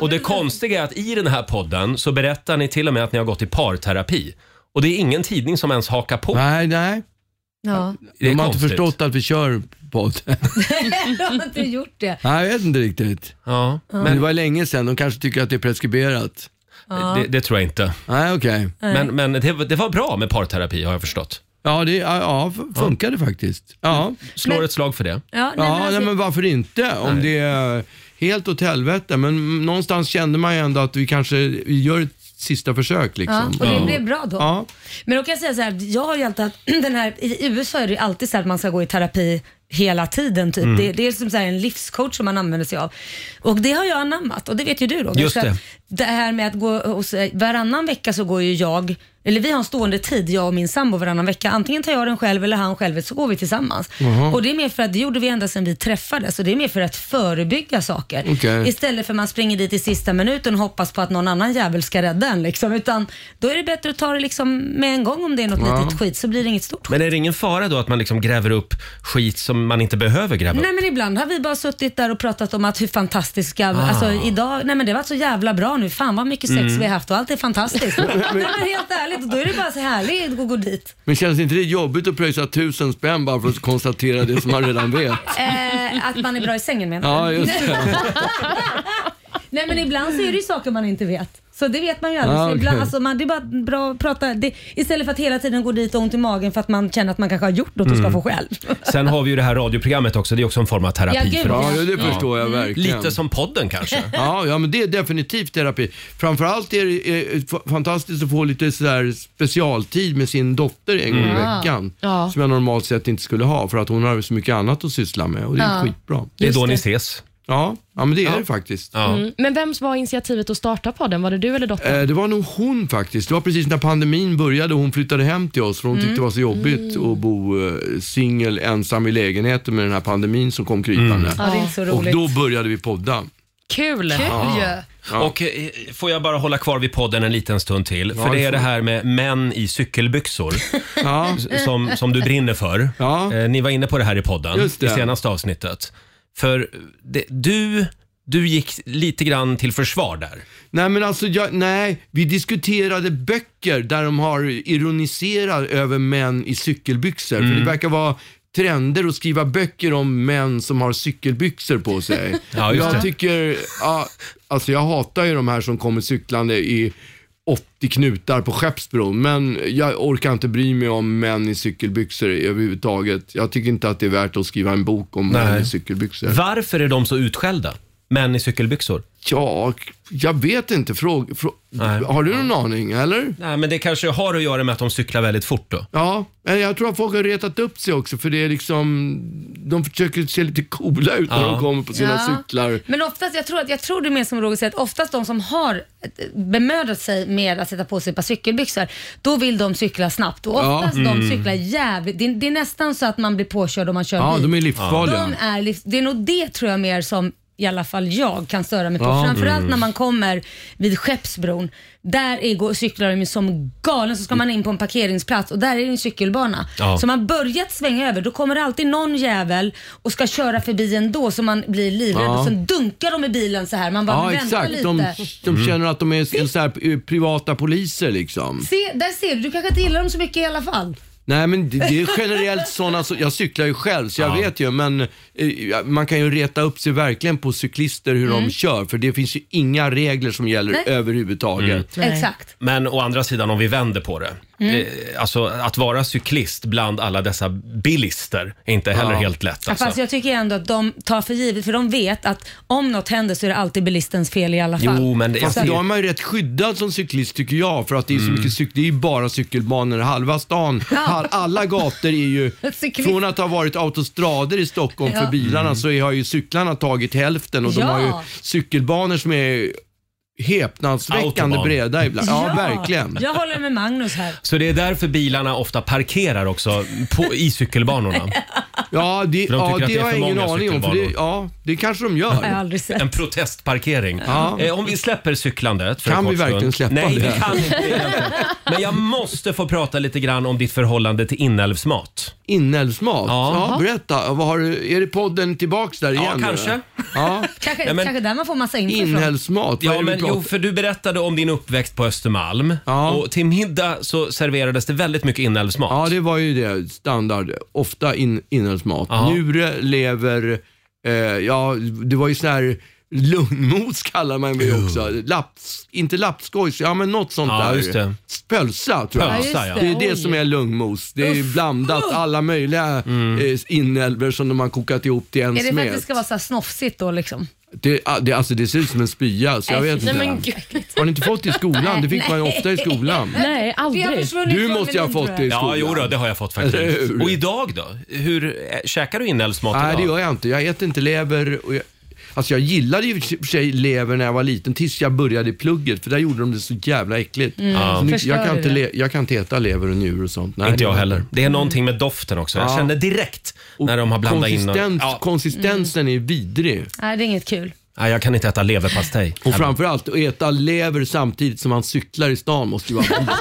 S1: Och det konstiga är att i den här podden så berättar ni till och med att ni har gått i parterapi. Och det är ingen tidning som ens hakar på.
S9: Nej, nej.
S2: Ja,
S1: Det är
S9: De har inte
S1: konstigt.
S9: förstått att vi kör podd.
S2: jag har inte gjort det.
S9: nej, jag vet inte riktigt.
S1: Ja,
S9: Men det
S1: men
S9: var länge sedan, de kanske tycker att det är preskriberat.
S1: det, det tror jag inte.
S9: Nej, okej.
S1: Men, men det, var- det var bra med parterapi har jag förstått.
S9: Ja, det ja, ja, f- funkade faktiskt. Ja,
S1: Slår ett slag för det.
S2: Ja, nej,
S9: ja
S2: men alltså,
S9: nej, men varför inte? Om det är helt åt helvete. Men mm, någonstans kände man ju ändå att vi kanske vi gör ett sista försök
S2: ja,
S9: liksom.
S2: och det blev bra då.
S9: Ja.
S2: Men då kan jag säga så här, jag har ju alltid haft den här, i USA är det ju alltid så här att man ska gå i terapi hela tiden typ.
S9: Mm.
S2: Det, det är som så här en livscoach som man använder sig av. Och det har jag anammat och det vet ju du Roger.
S1: Just
S2: Så att
S1: det.
S2: det här med att gå hos, varannan vecka så går ju jag, eller vi har en stående tid jag och min sambo varannan vecka. Antingen tar jag den själv eller han själv så går vi tillsammans. Och det är mer för att det gjorde vi ända sedan vi träffades och det är mer för att förebygga saker.
S9: Okej.
S2: Istället för att man springer dit i sista minuten och hoppas på att någon annan jävel ska rädda en. Liksom. Utan då är det bättre att ta det liksom med en gång om det är något litet skit så blir det inget stort skit.
S1: Men är det ingen fara då att man liksom gräver upp skit som man inte behöver gräva upp?
S2: Nej men ibland har vi bara suttit där och pratat om att hur fantastiska, alltså idag, nej men det var så jävla bra nu, fan vad mycket sex vi har haft och allt är fantastiskt. Mm. nej, men helt ärligt, och då är det bara så härligt att gå dit.
S9: Men känns inte det jobbigt att pröjsa tusen spänn bara för att konstatera det som man redan vet?
S2: Eh, att man är bra i sängen menar jag.
S9: Ja, just det.
S2: Nej men ibland så är det ju saker man inte vet. Så det vet man ju aldrig.
S9: Ah,
S2: så
S9: okej.
S2: ibland, alltså, man, det är bara bra att prata. Det, istället för att hela tiden gå dit och ont i magen för att man känner att man kanske har gjort något och
S9: Mm.
S2: ska få själv.
S1: Sen har vi ju det här radioprogrammet också. Det är också en form av terapi
S2: Ja, gud,
S1: för oss.
S9: Ja, det förstår jag verkligen.
S1: Lite som podden kanske.
S9: Ja, ja, men det är definitivt terapi. Framförallt är det eh, f- fantastiskt att få lite sådär specialtid med sin dotter en gång i veckan.
S5: Mm. Ja.
S9: Som jag normalt sett inte skulle ha för att hon har så mycket annat att syssla med och det är skitbra.
S1: Det är då ni ses.
S9: Ja, ja men det är det faktiskt.
S1: Ja.
S5: Mm. Men vems var initiativet att starta podden? Var det du eller dottern?
S9: Eh, Det var nog hon faktiskt. Det var precis när pandemin började och hon flyttade hem till oss för hon tyckte det var så jobbigt
S2: Mm.
S9: att bo eh, singel ensam i lägenheten med den här pandemin som kom krypande.
S2: Mm. Ja, det är inte så
S9: Och
S2: roligt.
S9: då började vi podda.
S5: Kul!
S1: Och eh, får jag bara hålla kvar vid podden en liten stund till?
S9: Ja,
S1: för det
S9: det
S1: är
S9: får
S1: det
S9: du.
S1: här med män i cykelbyxor
S9: Ja.
S1: som, som du brinner för.
S9: Ja.
S1: Eh, Ni var inne på det här i podden
S9: Just det.
S1: i senaste avsnittet. För det, du, du gick lite grann till försvar där.
S9: Nej men alltså, jag, nej, vi diskuterade böcker där de har ironiserat över män i cykelbyxor. För
S1: Mm.
S9: det verkar vara trender att skriva böcker om män som har cykelbyxor på sig.
S1: Ja, just
S9: jag
S1: det.
S9: tycker, ja, alltså jag hatar ju de här som kommer cyklande i 80 knutar på Skeppsbron, men jag orkar inte bry mig om män i cykelbyxor överhuvudtaget. Jag tycker inte att det är värt att skriva en bok om män
S1: Nej.
S9: i cykelbyxor.
S1: Varför är de så utskällda? män i cykelbyxor?
S9: Ja, jag vet inte. Fråg, frå, har du någon aning, eller?
S1: Nej, men det kanske har att göra med att de cyklar väldigt fort då.
S9: Ja, men jag tror att folk har retat upp sig också för det är liksom, de försöker se lite coola ut när
S1: Ja.
S9: de kommer på sina
S2: Ja.
S9: cyklar.
S2: Men oftast, jag tror, att, jag tror det är mer som Roger säger, att oftast de som har eh, bemödat sig med att sätta på sig ett par cykelbyxor, då vill de cykla snabbt. Och
S9: Ja. Mm.
S2: oftast de cyklar jävligt, det är, det är nästan så att man blir påkörd om man kör
S9: Ja,
S2: bil.
S9: de är livsfarliga.
S2: De är livs- det är nog det tror jag mer som i alla fall jag kan störa mig på.
S9: Ja. Mm.
S2: Framförallt när man kommer vid Skeppsbron. Där är, går, cyklar de ju som galen så ska man in på en parkeringsplats och där är det en cykelbana.
S1: Ja.
S2: Så man börjat svänga över, då kommer det alltid någon jävel och ska köra förbi ändå så man blir livrädd
S9: Ja.
S2: och sen dunkar de i bilen så här. Man bara
S9: Ja,
S2: väntar
S9: exakt.
S2: lite.
S9: De, de känner att de är en så här, eh, privata poliser liksom.
S2: Se, där ser du, du kanske inte gillar dem så mycket i alla fall.
S9: Nej men det, det är generellt sådana, som- jag cyklar ju själv så jag vet ju men eh, man kan ju reta upp sig verkligen på cyklister hur de kör för det finns ju inga regler som gäller
S2: Mm. Nej.
S9: överhuvudtaget.
S2: Exakt.
S1: Men å andra sidan om vi vänder på det.
S2: Mm.
S1: eh, Alltså att vara cyklist bland alla dessa bilister är inte heller
S9: Ja.
S1: helt lätt.
S2: Ja, Fast
S1: Alltså.
S2: jag tycker ändå att de tar för givet, för de vet att om något händer så är det alltid bilistens fel i alla fall.
S1: Jo, men det, jag
S9: Fast idag är
S1: ser,
S9: man ju rätt skyddad som cyklist tycker jag för att det är så
S2: Mm.
S9: mycket cykel, det är ju bara cykelbanor halva stan. All, alla gator är ju,
S2: Cyklist.
S9: från att ha varit autostrader i Stockholm
S2: Ja. Mm.
S9: för bilarna så har ju cyklarna tagit hälften och
S2: Ja.
S9: de har ju cykelbanor som är häpnadsväckande
S1: Autobahn.
S9: breda ibland. Ja, verkligen.
S2: Jag håller med Magnus här.
S1: så det är därför bilarna ofta parkerar också på, i cykelbanorna.
S9: Ja, det,
S1: de tycker
S9: ja,
S1: att
S9: det
S1: det är
S9: har
S1: för
S9: jag ingen
S1: många
S9: aning om. För det,
S1: cykelbanor.
S9: ja, det kanske de
S2: Jag har
S9: gör.
S2: aldrig sett.
S1: En protestparkering.
S9: Ja.
S1: Eh, om vi släpper cyklandet för
S9: Kan
S1: en kort
S9: vi verkligen
S1: stund.
S9: släppa
S1: Nej,
S9: det?
S1: vi kan inte. egentligen. Men jag måste få prata lite grann om ditt förhållande till inälvsmat.
S9: Inälvsmat?
S1: Ja.
S9: Ja. berätta. Vad har du, är det podden tillbaks där igen? nu?
S1: kanske.
S9: Ja.
S2: Kanske,
S1: Ja, men-
S2: kanske där man får massa info ifrån.
S9: Inälvsmat, vad
S1: Ja,
S9: är det
S1: men
S9: vi pratar
S1: jo, för du berättade om din uppväxt på Östermalm.
S9: Ja.
S1: Och till middag så serverades det väldigt mycket inälvsmat.
S9: Ja, det var ju det. Standard. Ofta in, inälvsmat.
S1: Ja.
S9: Njure, lever, eh, ja, det var ju sån här Lugnmos kallar man ju också. Laps, inte lapskojs, ja men något sånt
S1: Ja,
S9: där.
S1: just det.
S9: Pölsa tror jag.
S1: Pölsa, Ja, just
S9: Det är
S5: det.
S9: det
S5: Oj.
S9: som är lugnmos. Det är ju blandat alla möjliga
S1: Mm.
S9: eh, inälvor som de har kokat ihop till en
S2: Är det för att det
S9: smet.
S2: ska vara så här snofsigt då liksom?
S9: Det, ah, det, alltså, det ser ut som en spya, så jag
S2: Nej,
S9: vet
S5: Nej,
S9: inte.
S5: men gud.
S9: Har ni inte fått det i skolan? Det fick man ju ofta i skolan.
S5: Nej,
S2: Vi har
S5: aldrig.
S2: försvunnit
S9: Du
S2: från
S9: måste ju ha
S2: menyn, tror
S9: fått det i skolan.
S1: Ja, jo då, det har jag fått
S9: Eller
S1: faktiskt.
S9: hur?
S1: Och idag då? Hur, äh, käkar du inälvsmat
S9: Nej, det
S1: idag?
S9: gör jag inte. Jag äter inte lever. Och jag, alltså jag gillade ju i och för sig lever när jag var liten tills jag började i plugget för där gjorde de det så jävla äckligt. Så nu, jag,
S2: Förstörde
S9: kan inte
S2: det.
S9: le, jag kan inte äta lever och njur och sånt. Nej,
S1: Inte jag
S9: det-
S1: heller. Det är någonting med doften också. Jag
S9: Ja.
S1: känner direkt
S9: Och
S1: när de har blandat in... och-
S9: konsistens,
S1: Ja,
S9: Konsistensen är vidrig.
S2: Nej, det är inget kul.
S1: nej, jag kan inte äta leverpastej.
S9: Och framförallt att äta lever samtidigt som man cyklar i stan måste ju vara vidrigt.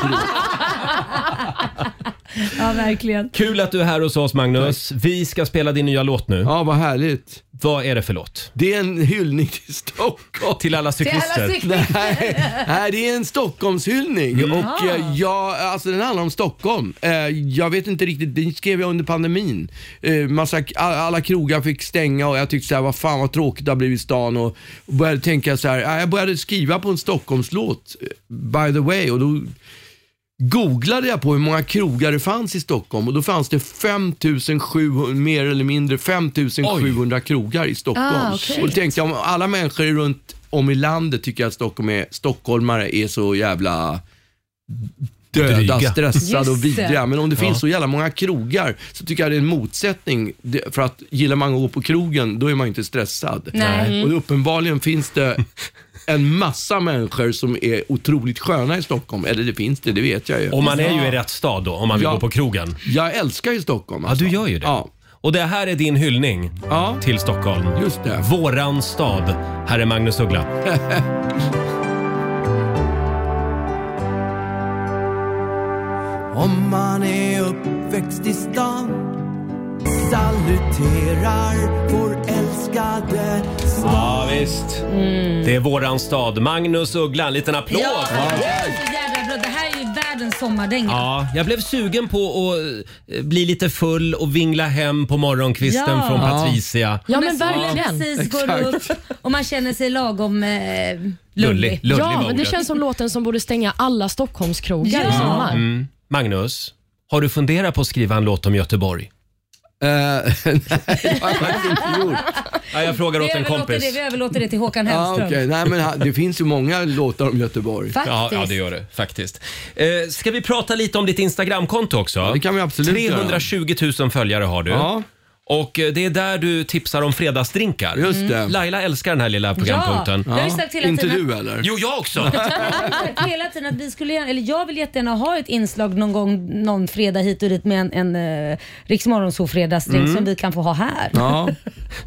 S2: Ja, verkligen.
S1: Kul att du är här hos oss Magnus. Vi ska spela din nya låt nu.
S9: Ja, vad härligt.
S1: Vad är det för låt?
S9: Det är en hyllning till Stockholm.
S1: Till alla
S2: Till
S1: cyklister.
S2: alla cyklister.
S9: Nej, nej, det är en Stockholmshyllning och eh, jag, alltså den handlar om Stockholm. Eh, Jag vet inte riktigt, den skrev jag under pandemin. Eh, Massa, all- alla krogar fick stänga och jag tyckte så här, vad fan vad tråkigt det har blivit i stan och och började tänka så här, eh, jag började skriva på en Stockholmslåt eh, by the way och då googlade jag på hur många krogar det fanns i Stockholm och då fanns det 5700, mer eller mindre 5700 krogar i Stockholm.
S2: Ah, okej.
S9: Och då tänkte jag om alla människor runt om i landet tycker att Stockholm är, stockholmare är så jävla döda,
S1: Dryga.
S9: stressade
S2: Just
S9: och
S2: det.
S9: vidriga. Men om det
S1: Ja.
S9: finns så jävla många krogar så tycker jag det är en motsättning. Det- För att gillar man att gå på krogen, då är man ju inte stressad.
S2: Nej.
S9: Och uppenbarligen finns det en massa människor som är otroligt sköna i Stockholm. Eller det finns det, det vet jag ju.
S1: Och man är ju i rätt stad då om man vill
S9: Ja.
S1: gå på krogen.
S9: Jag älskar ju Stockholm.
S1: Ja,
S9: Alltså.
S1: du gör ju det.
S9: Ja.
S1: Och det här är din hyllning
S9: Ja.
S1: till Stockholm.
S9: Just det.
S1: Våran stad. Här är Magnus Uggla.
S6: Om man är uppväxt i stan saluterar vår älskade stad
S1: Ja, visst. Det är våran stad. Magnus Uggla, en liten applåd.
S2: Ja,
S1: Ja.
S2: det är så jävla bra. Det här är ju världens sommardänga.
S1: jag blev sugen på att eh, bli lite full och vingla hem på morgonkvisten
S2: Ja.
S1: från Patricia.
S5: Ja, men
S2: solen
S5: verkligen.
S2: precis går upp och man känner sig lagom eh,
S1: Lullig.
S2: lullig.
S1: Lullig var
S5: Ja, men det
S1: ordet.
S5: känns som låten som borde stänga alla Stockholmskrogar
S2: Ja.
S9: Mm.
S5: i sommar.
S1: Magnus, har du funderat på att skriva en låt om Göteborg?
S9: Eh, nej, det har jag faktiskt inte gjort.
S1: Ja, jag frågar
S2: Vi
S1: åt en
S2: överlåter, det,
S1: kompis.
S2: vi överlåter det till Håkan
S9: Ah,
S2: Hellström.
S9: okej. Nej, men ha- det finns ju många låtar om Göteborg.
S1: Ja,
S2: Faktiskt.
S1: ja, det gör det faktiskt. Eh, ska vi prata lite om ditt Instagramkonto också?
S9: det kan vi absolut göra.
S1: 320 000 följare har du.
S9: Ja.
S1: Och eh, det är där du tipsar om fredagsdrinkar.
S9: Just det.
S1: Laila älskar den här lilla
S2: Ja,
S1: programpunkten.
S2: jag har ju sagt hela
S9: Inte
S2: tiden att
S9: du eller?
S1: Jo, jag också!
S2: sagt hela tiden att vi skulle gärna, eller jag vill jättegärna ha ett inslag någon gång någon fredag hit och dit med en, en uh, fredagsdrink som vi kan få ha här.
S9: Mm. Ja,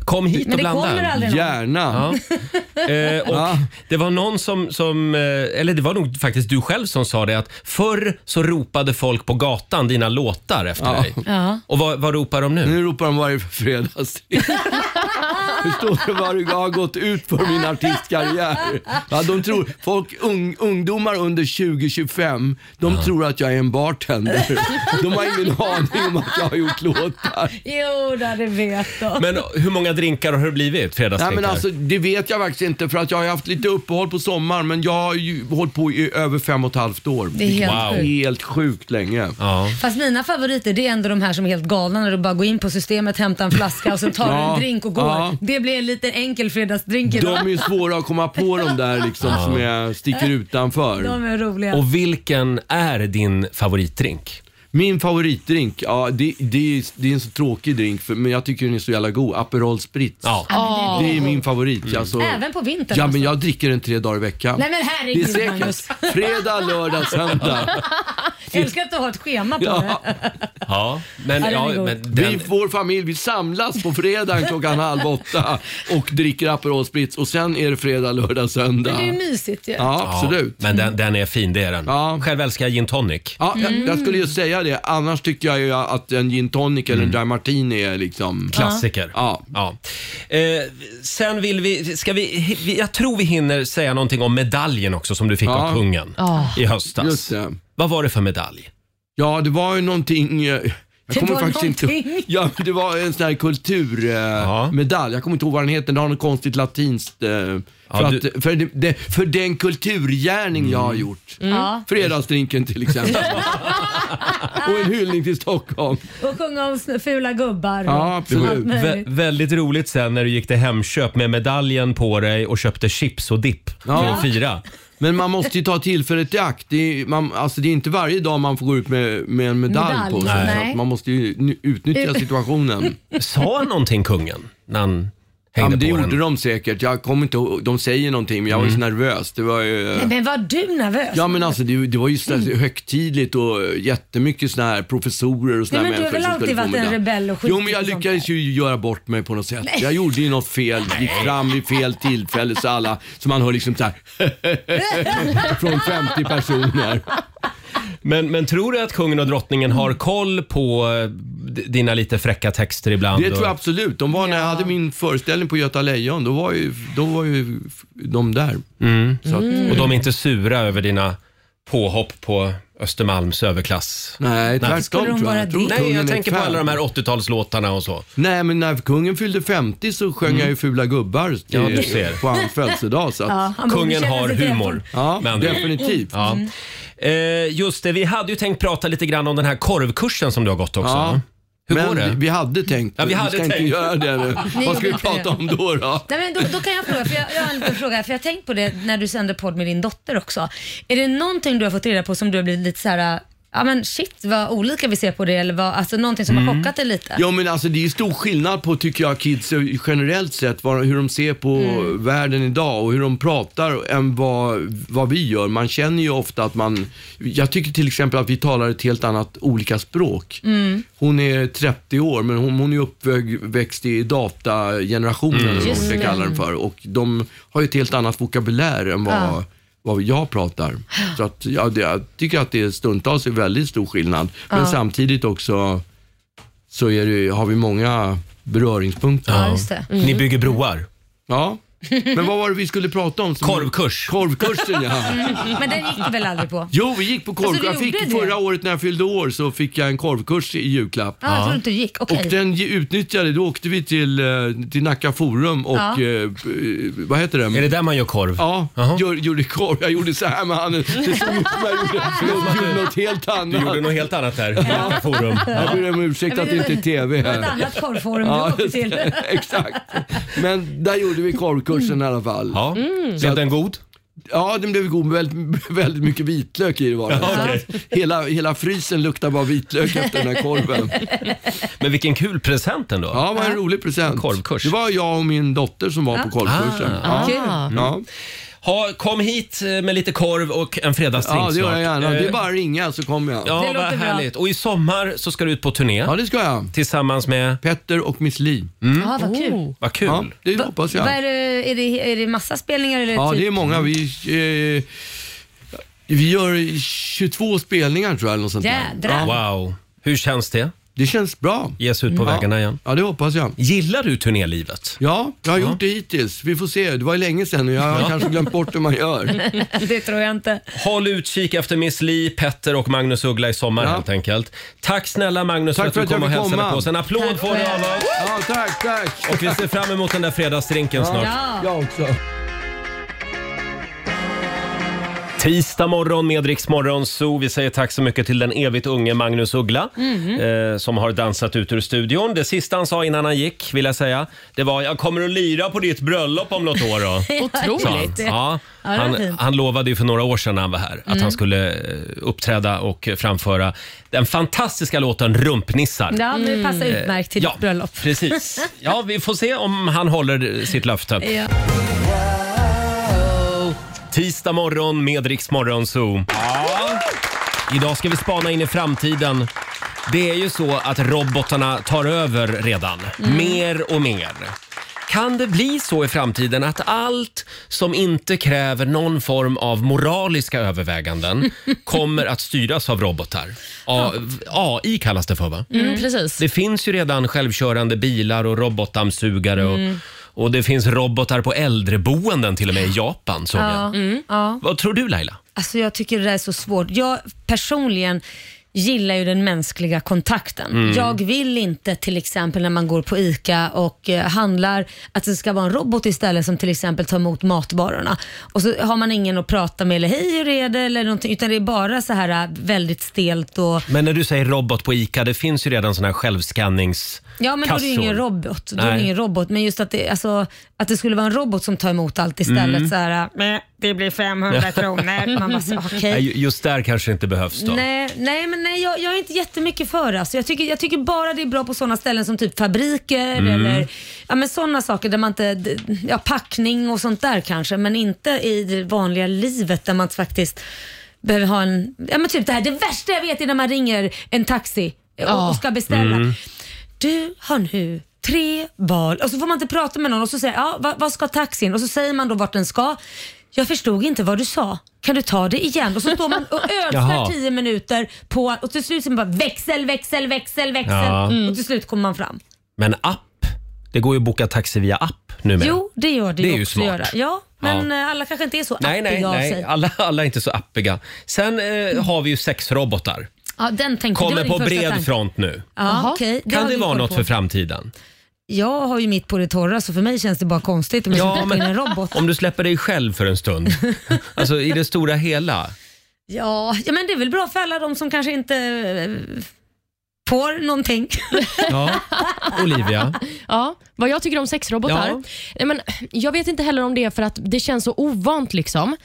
S1: Kom hit
S2: Men
S1: och
S2: det
S1: blanda.
S2: kommer aldrig någon.
S9: gärna.
S1: Eh, och Det var någon som, som eh, eller det var nog faktiskt du själv som sa det att förr så ropade folk på gatan dina låtar efter dig.
S2: Ja.
S1: Och vad, vad ropar de nu?
S9: Nu ropar de varje fredags. Förstår du vad det har gått ut för min artistkarriär? Ja, de tror, folk, ung, ungdomar under 20-25, de tror att jag är en bartender. De har ingen aning om att jag har gjort låtar.
S2: Jo, då, det vet de.
S1: Men hur många drinkar har det blivit?
S9: Nej,
S1: Fredagsdrinkar?
S9: men alltså, det vet jag faktiskt inte för att jag har haft lite uppehåll på sommaren men jag har ju hållit på i över fem och ett halvt år.
S2: Det är helt
S1: Wow.
S2: sjukt.
S9: Helt sjukt länge.
S1: ja.
S2: Fast mina favoriter det är ändå de här som är helt galna när du bara går in på systemet, hämtar en flaska och sen tar du
S9: Ja.
S2: en drink och går.
S9: Ja.
S2: Det blir en liten enkel fredagsdrink
S9: De
S2: idag.
S9: är ju svåra att komma på de där liksom som är, sticker utanför.
S2: De är roliga.
S1: Och vilken är din favoritdrink?
S9: Min favoritdrink, ja, det, det, är, det är en så tråkig drink för, men jag tycker den är så jävla god. Aperol Spritz.
S1: Ja. Mm.
S2: Ja, men
S9: Det är min favorit. Alltså,
S2: Även på vintern
S9: Ja,
S2: alltså?
S9: men jag dricker den tre dagar i veckan.
S2: Nej men
S9: det är
S2: herregud Magnus.
S9: säkert fredag, lördag, söndag.
S2: Jag älskar att du har ett schema på det.
S9: Ja.
S1: Ja, men,
S2: Ja, den
S1: ja,
S2: är god.
S1: men
S9: Vi,
S1: den,
S9: vår familj, vi samlas på fredagen klockan halv åtta och dricker Aperol Spritz och sen är det fredag, lördag,
S2: Men
S9: söndag.
S2: det är ju mysigt ju.
S9: Ja, absolut.
S1: men den, den är fin, det är den.
S9: Ja.
S1: Själv älskar jag gin tonic.
S9: Ja, jag,
S2: Mm.
S9: jag skulle ju säga det. Annars tycker jag ju att en gin tonic eller en dry martini är liksom...
S1: Klassiker.
S9: Ja.
S1: Ja. Eh, sen vill vi, ska vi, vi, jag tror vi hinner säga någonting om medaljen också som du fick
S9: Ja.
S1: av kungen
S5: Ah.
S1: i höstas.
S9: Just det.
S1: Vad var det för medalj?
S9: Ja, det var ju någonting... eh, Jag
S2: Det
S9: kommer
S2: var
S9: faktiskt
S2: någonting.
S9: inte Ja, men det var en sån här kulturmedalj. jag kommer inte ihåg vad den heter. Den har något konstigt latinskt. eh, För,
S1: Ja,
S9: att, för, det- det, för den kulturgärning jag har gjort.
S2: Ja.
S9: Fredagsdrinken till exempel. Och en hyllning till Stockholm.
S2: Och sjunga om sn- fula gubbar.
S9: Ja,
S2: och
S9: absolut.
S2: allt möjligt.
S1: väldigt roligt sen när du gick till Hemköp med medaljen på dig och köpte chips och dipp för
S9: Ja.
S1: att fira.
S9: Men man måste ju ta tillfället i akt. Det är, man, alltså det är inte varje dag man får gå ut med, med en medalj,
S2: Medalj,
S9: på sig.
S2: nej.
S9: Så att man måste ju nu- utnyttja situationen.
S1: Sa han någonting kungen när han
S9: Ja,
S1: hängde
S9: men det
S1: på
S9: gjorde
S1: den?
S9: de säkert. Jag kommer inte ihåg. De säger någonting men jag var ju så nervös. Det var ju...
S2: Nej, Men var du nervös?
S9: Ja men alltså det, det var ju så
S2: Mm.
S9: här högtidligt och jättemycket såna här professorer och såna
S2: Nej,
S9: här
S2: men du har
S9: människor
S2: väl
S9: som
S2: alltid
S9: skulle få
S2: varit en
S9: medalj.
S2: rebell och
S9: Jo men jag
S2: skitit och
S9: lyckades ju göra bort mig på något sätt. Jag gjorde ju något fel, gick fram vid fel tillfälle så alla, så man hör liksom så här från 50 personer.
S1: Men, men tror du att kungen och drottningen har koll på eh, d- dina lite fräcka texter ibland?
S9: Det tror jag
S1: och-
S9: absolut. De var, när jag hade min föreställning på Göta Lejon, då var ju, då var ju de där.
S1: Mm.
S9: Så att,
S2: Mm.
S1: Och de är inte sura över dina påhopp på Östermalms överklass?
S9: Nej, tvärtom
S2: Skulle de
S9: tror jag.
S2: vara
S9: jag. tror
S2: det?
S1: Nej,
S9: kungen är
S1: jag tänker på
S9: fan.
S1: alla de här 80-talslåtarna och så.
S9: Nej, men när kungen fyllde 50 så sjöng jag ju Fula gubbar till,
S1: Mm. Ja, du ser.
S9: på hans födelsedag. Så att,
S2: Ja,
S9: ja,
S2: han borde
S1: Kungen
S2: känna
S1: har
S2: sig
S1: humor.
S2: träffad.
S1: med andra ord.
S9: definitivt.
S1: Ja. Eh, just det, vi hade ju tänkt prata lite grann om den här korvkursen som du har gått också.
S9: Ja.
S1: Hur
S9: men
S1: går det?
S9: vi- vi hade tänkt,
S1: Ja, vi hade
S9: ska
S1: tänkt.
S9: inte göra det nu. Vad ska vi
S2: gjorde inte
S9: prata
S2: det.
S9: om då? då?
S2: Nej, men då, då kan jag fråga, för jag, jag har en liten fråga, för jag har tänkt på det när du sände podd med din dotter också. Är det någonting du har fått reda på som du har blivit lite så här, ja men shit vad olika vi ser på det, eller vad, alltså någonting som
S9: Mm.
S2: har chockat dig lite?
S9: Ja men alltså det är ju stor skillnad på tycker jag kids generellt sett, vad, hur de ser på
S2: Mm.
S9: världen idag och hur de pratar än vad, vad vi gör. Man känner ju ofta att man, jag tycker till exempel att vi talar ett helt annat, olika språk.
S2: Mm.
S9: Hon är 30 år men hon, hon är uppväxt i datagenerationen eller vad man
S2: Just
S9: ska
S2: det.
S9: kalla den för och de har ju ett helt annat vokabulär än vad
S2: Ja.
S9: vad jag pratar. Så att, ja, det, jag tycker att det stundtals är väldigt stor skillnad. Men samtidigt också så är det, har vi många beröringspunkter. Mm.
S2: Ja, just det.
S1: Ni bygger broar.
S9: Ja, Men vad var det vi skulle prata om? Som...
S1: Korvkurs.
S9: Korvkursen ja.
S2: Men den gick du väl aldrig på?
S9: Jo, vi gick på korvkurs.
S2: Alltså, du
S9: jag fick
S2: gjorde det?
S9: förra året när jag fyllde år så fick jag en korvkurs i julklapp.
S2: Ja, jag trodde inte du gick. Okej.
S9: Och den ge- utnyttjade, då åkte vi till, eh, till Nacka Forum och,
S2: Ja.
S9: eh, eh, vad heter det?
S1: Är det där man gör korv?
S9: Ja,
S1: Jaha.
S9: gör, gjorde korv. Jag gjorde så här med handen. Det såg ut som jag gjorde, jag gjorde något helt
S1: Du
S9: annat.
S1: gjorde något helt annat där. Ja. Forum.
S9: Jag ber om ursäkt att det inte är TV
S2: Det var ett
S9: här.
S2: annat korvforum
S9: Ja,
S2: du åkte till.
S9: exakt. Men där gjorde vi korvkursen i alla fall. Ja,
S1: Ja. Blev den god?
S9: den blev god med väldigt, väldigt mycket vitlök i det var det. hela, hela frysen luktar bara vitlök efter den här korven.
S1: Men vilken kul present ändå.
S9: Ja, det var en rolig present.
S1: Korvkurs.
S9: Det var jag och min dotter som var på korvkursen.
S5: Ah.
S9: Ja. Ja.
S1: Mm. Ha, kom hit eh, med lite korv och en fredagsdrink
S9: ja, det gör jag
S1: snart.
S9: gärna. Det är
S1: Eh,
S9: bara att ringa så kommer jag.
S1: Ja, vad
S2: Det låter bra.
S1: härligt. Och i sommar så ska du ut på turné
S9: Ja, det ska jag.
S1: tillsammans med...
S9: Petter och Miss Li.
S2: Ja, vad kul.
S1: Vad kul.
S9: Ja, Mm. Oh, det
S2: Va-
S9: hoppas
S2: Vad
S9: jag.
S2: är, det, är, det, är det massa spelningar eller
S9: Ja,
S2: typ?
S9: det är många. Vi, eh, vi gör 22 spelningar tror jag. Eller något sånt där.
S2: Jädrar.
S1: Wow. Hur känns det?
S9: Det känns bra.
S1: Ge sig ut på vägarna igen.
S9: Mm. Ja, det hoppas jag.
S1: Gillar du turnélivet?
S9: Ja, jag har gjort det hittills. Vi får se. Det var ju länge sedan och jag har kanske glömt bort hur man gör.
S2: Det tror jag inte.
S1: Håll utkik efter Miss Li, Petter och Magnus Uggla i sommar
S9: Ja.
S1: helt enkelt. Tack snälla Magnus
S9: Tack
S1: för att du
S9: för att
S1: kom
S9: jag
S1: och
S9: fick
S1: hälsade
S9: komma.
S1: på oss. En applåd
S2: Tack
S1: får du
S2: själv.
S1: av oss.
S9: Ja, tack, tack.
S1: Och vi ser fram emot den där fredagsdrinken snart.
S2: Ja.
S9: Jag också.
S1: Tisdag morgon med Rix Morgon Zoo. Vi säger tack så mycket till den evigt unge Magnus Uggla
S9: Mhm.
S1: eh, som har dansat ut ur studion. Det sista han sa innan han gick, vill jag säga, det var “Jag kommer att lira på ditt bröllop om något år då”. sa han.
S5: Otroligt.
S1: Ja,
S2: Ja, det var
S1: han,
S2: fint. Mm.
S1: han lovade ju för några år sedan när han var här att han skulle eh, uppträda och framföra den fantastiska låten “Rumpnissar”.
S2: Ja, men det passar utmärkt till ditt bröllop.
S1: precis. Ja, vi får se om han håller sitt löfte.
S2: Ja.
S1: Tisdag morgon med Rix Morgon Zoo. Idag ska vi spana in i framtiden. Det är ju så att robotarna tar över redan, mer och mer. Kan det bli så i framtiden att allt som inte kräver någon form av moraliska överväganden kommer att styras av robotar? A- AI kallas det för va?
S5: Mm, precis.
S1: Det finns ju redan självkörande bilar och robotdammsugare
S2: Mm.
S1: och, och det finns robotar på äldreboenden till och med i Japan såg jag.
S2: Ja. Mm. Ja.
S1: Vad tror du Laila?
S2: Alltså jag tycker det där är så svårt. Jag personligen gillar ju den mänskliga kontakten. Jag vill inte till exempel när man går på ICA och eh, handlar att det ska vara en robot istället som till exempel tar emot matvarorna. Och så har man ingen att prata med eller hej hur är det eller någonting utan det är bara så här eh, väldigt stelt och
S1: Men när du säger robot på ICA, det finns ju redan såna här självskannings...
S2: Ja men då är det ju
S1: Kassor.
S2: ingen robot. Då är det
S1: Nej.
S2: ingen robot. Men just att det, alltså, att det skulle vara en robot som tar emot allt istället.
S1: Mm.
S2: Så här, äh, "Meh, det blir 500 kronor. Man bara, så, okej.
S1: Nej, ju- Just där kanske inte behövs då.
S2: Nej, nej, men nej, jag, jag är inte jättemycket för det. Alltså, jag, tycker, jag tycker bara det är bra på sådana ställen som typ fabriker
S1: Mm.
S2: eller ja, men sådana saker där man inte, d- ja, packning och sånt där kanske, men inte i det vanliga livet där man faktiskt behöver ha en, ja men typ det här, det värsta jag vet är när man ringer en taxi och,
S5: Ja.
S2: och ska
S1: Mm.
S2: beställa. Du har nu tre val och så får man inte prata med någon och så säger ja, vad, vad ska taxin? Och så säger man då vart den ska. Jag förstod inte vad du sa. Kan du ta det igen? Och så står man och
S1: Jaha.
S2: ödslar tio minuter på och till slut så bara växel, växel, växel, växel.
S1: Ja.
S2: Och till slut kommer man fram.
S1: Men app? Det går ju att boka taxi via app numera.
S2: Jo, det gör det,
S1: Det är
S2: ju
S1: ju
S2: också
S1: smart.
S2: göra. Ja, men eh, alla kanske inte är så
S1: Nej, nej,
S2: appiga av
S1: nej.
S2: sig.
S1: Alla, alla är inte så appiga. Sen eh, har vi ju sexrobotar.
S2: Ja, den tänkte, det var
S1: Kommer
S2: din
S1: på
S2: första
S1: bred
S2: tanke.
S1: front nu.
S2: Ja, okej,
S1: Kan
S2: har
S1: det
S2: vi
S1: vara
S2: koll
S1: något
S2: på.
S1: för framtiden?
S2: Jag har ju mitt på det torra så för mig känns det bara konstigt om jag
S1: Ja,
S2: ja,
S1: men-
S2: in en robot.
S1: Om du släpper dig själv för en stund. Alltså i det stora hela.
S2: Ja, ja, men det är väl bra för alla de som kanske inte eh, får någonting.
S1: Ja. Olivia.
S5: Ja, vad jag tycker om sexrobotar?
S1: Ja.
S5: Nej, men jag vet inte heller om det är för att det känns så ovant. liksom.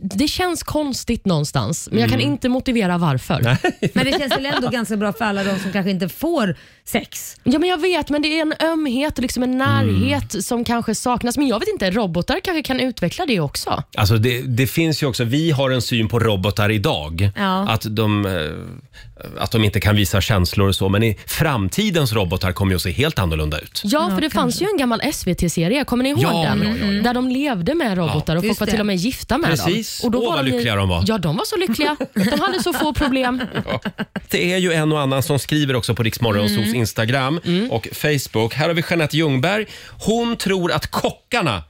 S5: Det känns konstigt någonstans, men jag
S9: Mm.
S5: kan inte motivera varför.
S2: Men det känns väl ändå ganska bra för alla de som kanske inte får sex.
S5: Ja, men jag vet, men det är en ömhet och liksom en
S9: Mm.
S5: närhet som kanske saknas. Men jag vet inte, robotar kanske kan utveckla det också.
S1: Alltså det, det finns ju också, vi har en syn på robotar idag.
S2: Ja.
S1: Att, de, eh, att de inte kan visa känslor och så. Men i framtidens robotar kommer ju att se helt annorlunda ut.
S5: Ja, för det fanns ju en gammal SVT-serie, kommer ni ihåg
S1: Ja,
S5: den?
S1: ja, ja,
S5: Där de levde med robotar och folk
S2: Just
S5: var
S2: det.
S5: till och med gifta med
S1: Precis.
S5: dem. Och då
S1: Åh, vad lyckliga de var.
S5: Ja, de var så lyckliga. De hade så få problem.
S1: Det är ju en och annan som skriver också på
S2: Mm.
S1: Riksmorgonsos Instagram och Facebook. Här har vi Jeanette Ljungberg. Hon tror att kockarna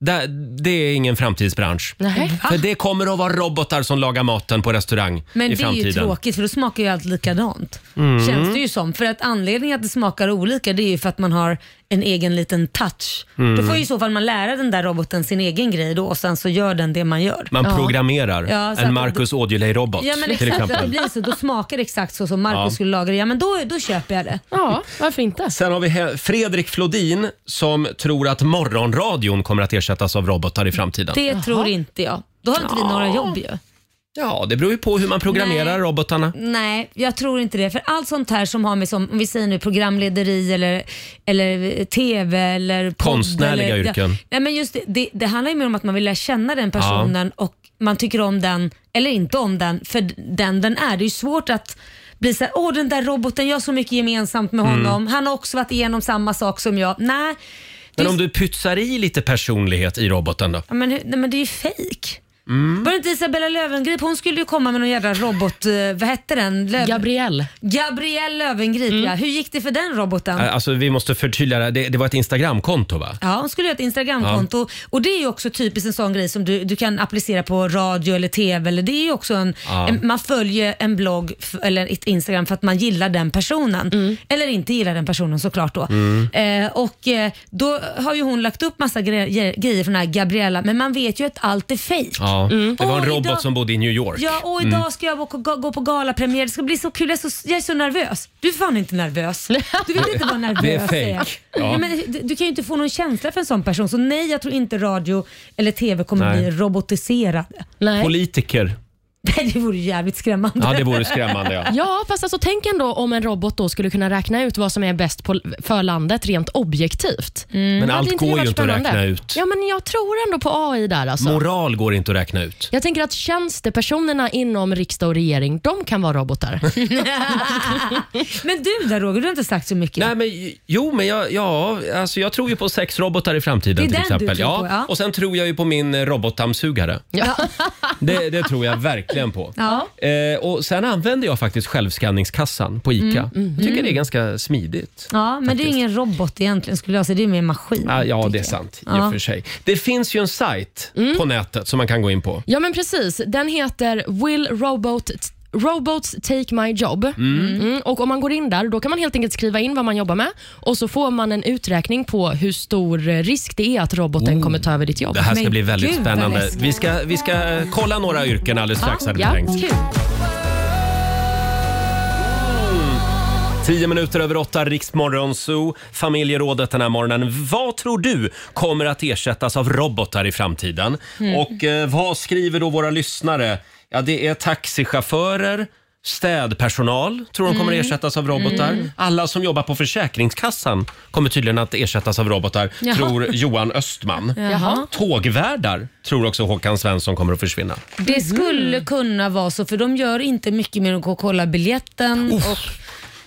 S1: det, det är ingen framtidsbransch.
S5: Nej.
S1: För det kommer att vara robotar som lagar maten på restaurang
S2: Men
S1: i
S2: det är
S1: framtiden. Mm.
S2: ju tråkigt för då smakar ju allt likadant. Känns det ju som. För att anledningen att det smakar olika det är ju för att man har en egen liten touch.
S1: Mm.
S2: Då får ju i så fall man lära den där roboten sin egen grej då och sen så gör den det man gör.
S1: Man programmerar
S2: Ja, så att-
S1: en Marcus Aujalay-robot
S2: Ja men
S1: till
S2: exakt, att det
S1: exempel.
S2: blir så. Då smakar det exakt så som Marcus
S1: Ja.
S2: skulle laga det. Ja men då, då köper jag det.
S5: Ja, varför inte?
S1: Sen har vi he- Fredrik Flodin som tror att morgonradion kommer att ersättas av robotar i framtiden.
S2: Det tror inte jag. Då har inte vi några jobb ju.
S1: Ja, det beror ju på hur man programmerar
S2: Nej.
S1: robotarna.
S2: Nej, jag tror inte det. För allt sånt här som har med som, om vi säger nu programlederi eller, eller TV eller podd
S1: Konstnärliga
S2: eller,
S1: yrken.
S2: Nej, men just det, det, det handlar ju mer om att man vill lära känna den personen och man tycker om den eller inte om den för den den är. Det är ju svårt att bli såhär, åh den där roboten, jag har så mycket gemensamt med
S1: Mm.
S2: honom. Han har också varit igenom samma sak som jag. Nej, det
S1: Men
S2: är
S1: om du pytsar i lite personlighet i roboten då?
S2: Ja, men, hur- nej, men det är ju fejk.
S1: Mm.
S2: Var det inte Isabella Löwengrip? Hon skulle ju komma med någon jävla robot... eh, Vad hette den? Löv...
S5: Gabrielle.
S2: Gabrielle Löwengrip ja. Hur gick det för den roboten?
S1: Ä- Alltså vi måste förtydliga det. här. Det, det var ett Instagramkonto va?
S2: Ja, hon skulle göra ett Instagramkonto. Och det är ju också typiskt en sån grej som du, du kan applicera på radio eller TV. Eller det är ju också en,
S1: Ja.
S2: en, man följer en blogg f- eller ett Instagram för att man gillar den personen. Eller inte gillar den personen såklart då. Eh, och eh, då har ju hon lagt upp massa gre- grejer från den här Gabriella, men man vet ju att allt är fejk.
S1: Ja.
S5: Mm.
S1: Det var en
S2: Åh,
S1: robot
S2: idag-
S1: som bodde i New York.
S2: Ja, och idag
S1: Mm.
S2: ska jag gå, gå, gå på galapremiär. Det ska bli så kul. Jag är så, jag är så nervös. Du är fan inte nervös. Du vill inte vara nervös.
S1: Det är
S2: säger jag.
S1: fake. Ja.
S2: Nej, men du, du kan ju inte få någon känsla för en sån person. Så nej, jag tror inte radio eller TV kommer
S1: Nej.
S2: bli robotiserade.
S5: Nej.
S1: Politiker.
S2: Nej, det vore ju jävligt skrämmande.
S1: Ja, det vore skrämmande ja.
S5: Ja, fast alltså, tänk ändå om en robot då skulle kunna räkna ut vad som är bäst på, för landet rent objektivt.
S1: Men
S5: Hade
S1: Mm. allt
S5: inte det
S1: går
S5: varit
S1: ju inte att
S5: spännande?
S1: räkna ut.
S5: Ja, men jag tror ändå på AI där alltså.
S1: Moral går inte att räkna ut.
S5: jag tänker att tjänstepersonerna inom riksdag och regering, de kan vara robotar.
S2: Men du där Roger, du har inte sagt så mycket.
S1: Nej, men, jo, men jag, ja, alltså, jag tror ju på sexrobotar i framtiden.
S2: Det är
S1: till
S2: den du
S1: exempel.
S2: tror på, ja.
S1: Och sen tror jag ju på min eh, robotdammsugare. Det, det tror jag verkligen på.
S2: Ja.
S1: Eh, och sen använder jag faktiskt självskanningskassan på ICA. jag tycker det är ganska smidigt.
S2: Mm, Ja, men det är ingen robot egentligen skulle jag säga. Det är mer en maskin.
S1: Ah, ja, det
S2: tänker
S1: är
S2: jag.
S1: sant i
S2: Ja. Mm.
S1: och för sig. Det finns ju en sajt på nätet som man kan gå in på.
S5: Ja, men precis. Den heter Will Robot Robots take my job. Mm, och Om man går in där då kan man helt enkelt skriva in vad man jobbar med och så får man en uträkning på hur stor eh, risk det är att roboten kommer ta över ditt jobb.
S1: Oh. Det här ska
S2: Men
S1: bli väldigt
S2: gud, vad
S1: spännande.
S2: läskigt.
S1: Vi ska, vi ska kolla några yrken alldeles strax. hade vi
S5: ja.
S1: tänkt.
S5: Kul.
S1: Tio minuter över åtta, Riksmorgon Zoo, familjerådet den här morgonen. Vad tror du kommer att ersättas av robotar i framtiden?
S2: Mm.
S1: Och eh, vad skriver då våra lyssnare? Ja, det är taxichaufförer, städpersonal tror de
S2: Mm.
S1: kommer att ersättas av robotar. Alla som jobbar på Försäkringskassan kommer tydligen att ersättas av robotar, tror Johan Östman.
S5: Jaha.
S1: Tågvärdar tror också Håkan Svensson kommer att försvinna.
S2: Det skulle
S1: Mm.
S2: kunna vara så, för de gör inte mycket mer än att gå och kolla biljetten. Och,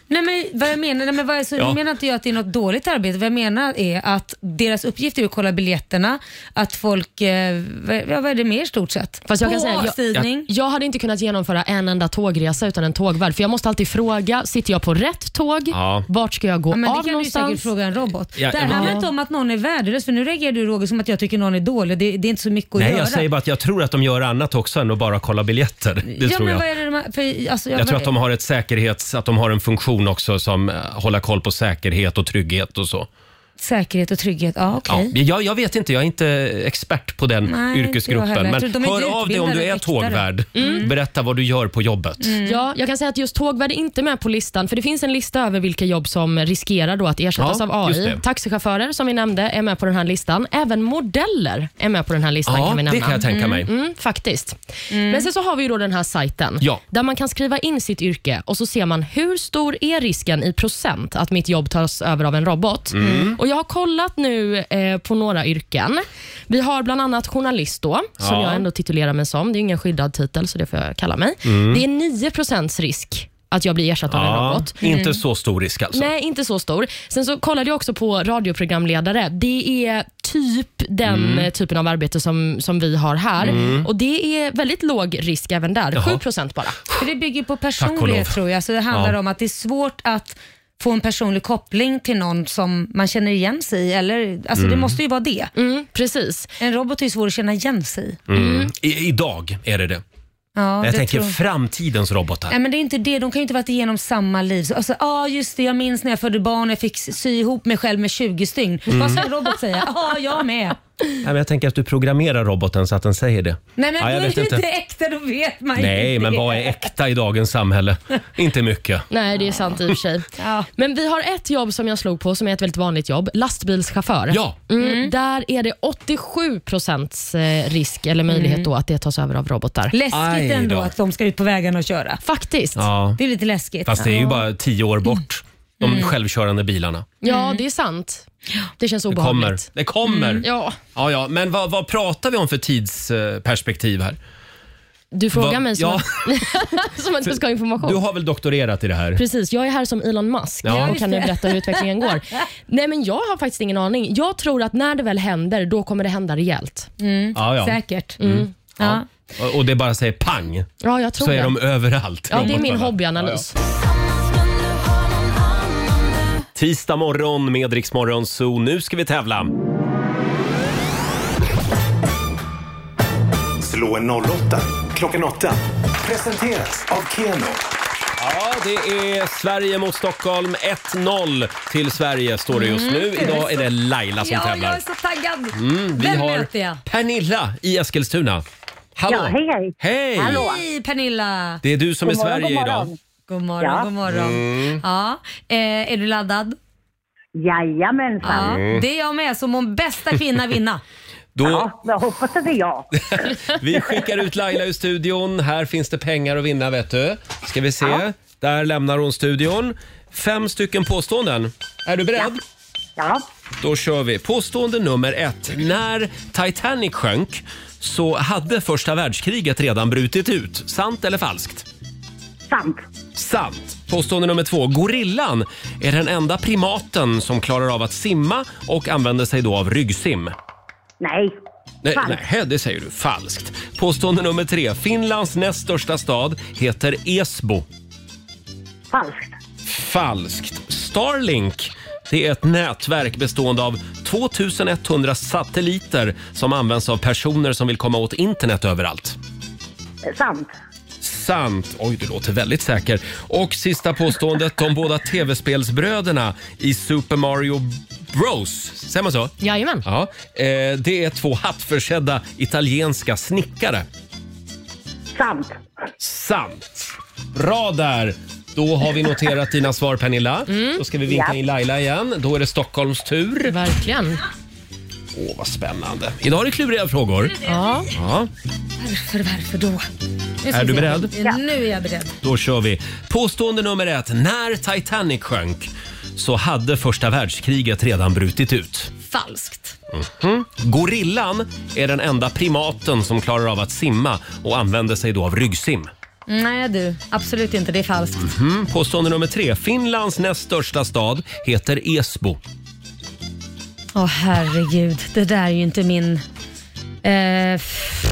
S2: nej men vad jag menar, nej men vad jag, så
S1: Ja.
S2: jag menar inte jag att det är något dåligt arbete. Vad jag menar är att deras uppgift är att kolla biljetterna, att folk, eh, vad, ja, vad är det mer i stort sett?
S5: Fast jag kan säga, jag-
S2: Avstigning.
S5: Jag hade inte kunnat genomföra en enda tågresa utan en tågvärd. För jag måste alltid fråga, sitter jag på rätt tåg?
S1: Ja.
S5: Vart ska jag gå
S2: Ja, men det kan
S5: av
S2: du säkert
S5: någonstans?
S2: fråga en robot.
S1: Ja,
S2: det här
S1: ja.
S2: handlar inte om att någon är värdelös, för nu reagerar du Roger som att jag tycker någon är dålig. Det, det är inte så mycket att
S1: Nej,
S2: göra.
S1: jag säger bara att jag tror att de gör annat också än att bara kolla biljetter. Det
S2: ja,
S1: tror
S2: men
S1: jag.
S2: Vad är det de, här- för, alltså,
S1: Jag tror att de har ett säkerhets... Att de har en funktion också som eh, håller koll på säkerhet och trygghet och så.
S2: Säkerhet och trygghet, ja okej.
S1: Ja, jag, jag vet inte, jag är inte expert på den
S2: Nej, inte jag
S1: yrkesgruppen.
S2: heller. Jag
S1: Men
S2: tror de är inte
S1: hör av dig om du
S2: utbildade Mm.
S1: är
S2: väktare.
S1: tågvärd. Berätta vad du gör på jobbet.
S2: Mm.
S5: Ja, jag kan säga att just tågvärd är inte med på listan, för det finns en lista över vilka jobb som riskerar då att ersättas
S1: Ja,
S5: av
S1: just
S5: AI.
S1: det.
S5: Taxichaufförer, som vi nämnde, är med på den här listan. Även modeller är med på den här listan.
S1: Ja,
S5: kan vi nämna.
S1: det kan jag tänka mig.
S5: Mm, faktiskt. Men sen så har vi ju då den här sajten
S1: Mm. Ja.
S5: där man kan skriva in sitt yrke och så ser man hur stor är risken i procent att mitt jobb tas över av en robot.
S1: Mm.
S5: Och Jag har kollat nu eh, på några yrken. Vi har bland annat journalist då, som
S1: Ja.
S5: jag ändå titulerar mig som. Det är ingen skyddad titel, så det får jag kalla mig. Det är 9 risk att jag blir ersatt av en
S1: Mm. Ja,
S5: robot.
S2: Mm.
S1: Inte så stor risk alltså.
S5: Nej, inte så stor. Sen så kollade jag också på radioprogramledare. Det är typ den eh, typen av arbete som, som vi har här. Och Det är väldigt låg risk även där. 7 procent bara.
S2: För det bygger på
S1: Tack och lov.
S2: personlighet tror jag. Så det handlar
S1: Ja.
S2: om att det är svårt att få en personlig koppling till någon som man känner igen sig i. Eller, alltså, Det måste ju vara det.
S5: Mm, precis.
S2: En robot är ju svår att känna igen sig i.
S1: I, idag är det det.
S2: Ja,
S1: Mm. jag
S2: det
S1: tänker
S2: tror-
S1: framtidens robotar.
S2: Nej men det är inte det, de kan ju inte ha varit igenom samma liv. Så, Alltså, ja ah, just det, jag minns när jag födde barn och jag fick sy ihop mig själv med 20 stygn.
S1: Mm.
S2: Vad ska en robot säga? Ja, ah, jag med.
S1: Nej, men jag tänker att du programmerar roboten så att den säger det.
S2: Nej men
S1: Ja, jag
S2: då är
S1: vet
S2: det inte
S1: inte.
S2: äkta, då vet man ju
S1: Nej,
S2: inte
S1: men
S2: det.
S1: vad är äkta i dagens samhälle? Inte mycket.
S5: Nej, det är sant i och för sig.
S2: Ja.
S5: Men vi har ett jobb som jag slog på som är ett väldigt vanligt jobb, lastbilschaufför.
S1: Ja.
S5: Mm, Där är det 87 procents eh, risk eller möjlighet då att det tas över av robotar.
S2: Läskigt
S1: Aj då.
S2: ändå att de ska ut på vägen och köra.
S5: Faktiskt. Ja,
S1: ja.
S2: Det är lite läskigt.
S1: Fast det är ju bara tio år bort. De
S5: Mm.
S1: självkörande bilarna.
S5: det är sant. Det känns
S1: Det kommer.
S5: obehagligt. Mm.
S1: Det kommer.
S5: Ja,
S1: Ja, ja. Men vad, vad pratar vi om för tidsperspektiv här?
S5: du frågar
S1: Va-
S5: mig som,
S1: ja.
S5: att, som att jag ska ha information.
S1: Du har väl doktorerat i det här?
S5: Precis, jag är här som Elon Musk
S1: Ja.
S5: och kan nu berätta hur utvecklingen går. Nej, men jag har faktiskt ingen aning. Jag tror att när det väl händer, då kommer det hända rejält.
S1: Ja, Mm. ja.
S2: Säkert. Ja.
S1: Och- Och det bara säger pang,
S5: Ja, jag tror
S1: så är
S5: det.
S1: de överallt.
S5: ja, det är min
S1: robotarna.
S5: hobbyanalys.
S1: Tisdag morgon med Rix Morgon Zoo. Nu ska vi tävla.
S3: Slå en 08 klockan 8. Presenteras av Keno.
S1: Ja, det är Sverige mot Stockholm. 1-0 till Sverige står det just nu.
S5: Mm.
S1: Idag är det Laila som
S2: Ja, jag
S1: Alltså, tävlar. Mm,
S2: är så taggad.
S1: Vi
S2: Vem
S1: har
S2: möter jag?
S1: Pernilla i Eskilstuna. Hallå!
S4: Ja, hej, hej.
S1: Hej!
S2: Hej Pernilla!
S1: Det är du som är
S4: God morgon,
S1: Sverige
S4: god
S1: idag.
S4: morgon.
S2: God morgon,
S4: Ja.
S2: god morgon.
S1: Mm.
S2: Ja. Eh, är du laddad?
S4: Jajamensan.
S2: Ja.
S1: Mm.
S2: Det är jag med, så må bästa kvinna vinna.
S1: Då,
S4: Ja, jag hoppas att det är jag.
S1: vi skickar ut Laila ur studion. Här finns det pengar att vinna, vet du. Ska vi se. Där lämnar hon studion. Fem stycken påståenden. Är du beredd?
S4: Ja.
S1: Då kör vi. Påstående nummer ett. När Titanic sjönk så hade första världskriget redan brutit ut. Sant eller falskt?
S4: Sant.
S1: Sant. Påstående nummer två. Gorillan är den enda primaten som klarar av att simma och använder sig då av ryggsim.
S4: Nej.
S1: Nej,
S4: Falskt.
S1: nej, det säger du. Falskt. Påstående nummer tre. Finlands näst största stad heter Esbo.
S4: Falskt.
S1: Falskt. Starlink det är ett nätverk bestående av 2100 satelliter som används av personer som vill komma åt internet överallt.
S4: Sant.
S1: Sant. Oj, du låter väldigt säker. Och sista påståendet. De båda tv-spelsbröderna i Super Mario Bros. Säger man så?
S5: Jajamän.
S1: Ja. Eh, det är två hattförsedda italienska snickare.
S4: Sant.
S1: Sant. Bra där! Då har vi noterat dina svar Pernilla. Då ska vi vinka in Laila igen. Då är det Stockholms tur.
S5: Verkligen.
S1: Åh, vad spännande. Idag är det kluriga frågor.
S5: Ja.
S1: Ja,
S2: Varför, varför då? Nu ska
S1: Är du
S2: vi se.
S1: beredd?
S2: Nu är jag beredd.
S1: då kör vi. Påstående nummer ett. När Titanic sjönk så hade första världskriget redan brutit ut. Hm?
S2: Falskt.
S1: Gorillan är den enda primaten som klarar av att simma och använder sig då av ryggsim.
S2: Nej du, absolut inte. Det är falskt.
S1: Mm. Påstående nummer tre. Finlands näst största stad heter Esbo.
S2: Åh herregud, det där är ju inte min... Eh, f-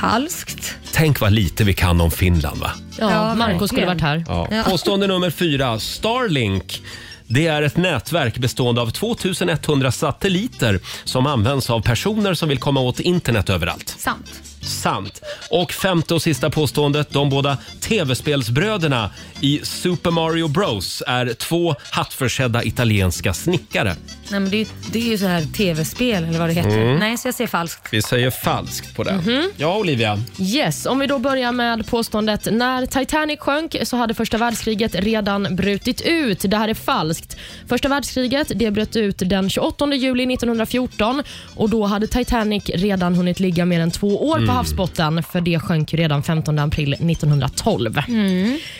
S2: falskt?
S1: Tänk vad lite vi kan om Finland va?
S2: Ja,
S5: Ja, Marco
S2: verkligen.
S5: skulle varit här.
S1: Ja.
S2: Ja.
S1: Påstående nummer fyra. Starlink. Det är ett nätverk bestående av 2100 satelliter som används av personer som vill komma åt internet överallt.
S2: Sant.
S1: Sant. Och femte och sista påståendet. De båda tv-spelsbröderna i Super Mario Bros är två hattförsedda italienska snickare.
S2: Nej, men det, är ju, det är ju så här tv-spel eller vad det heter.
S1: Mm.
S2: Nej, så jag säger falskt.
S1: Vi säger falskt på det. Ja, Olivia.
S5: Yes, om vi då börjar med påståendet när Titanic sjönk så hade första världskriget redan brutit ut. Det här är falskt. Första världskriget det bröt ut den 28 juli 1914 och då hade Titanic redan hunnit ligga mer än två år på havsbotten för det sjönk ju redan 15 april 1912.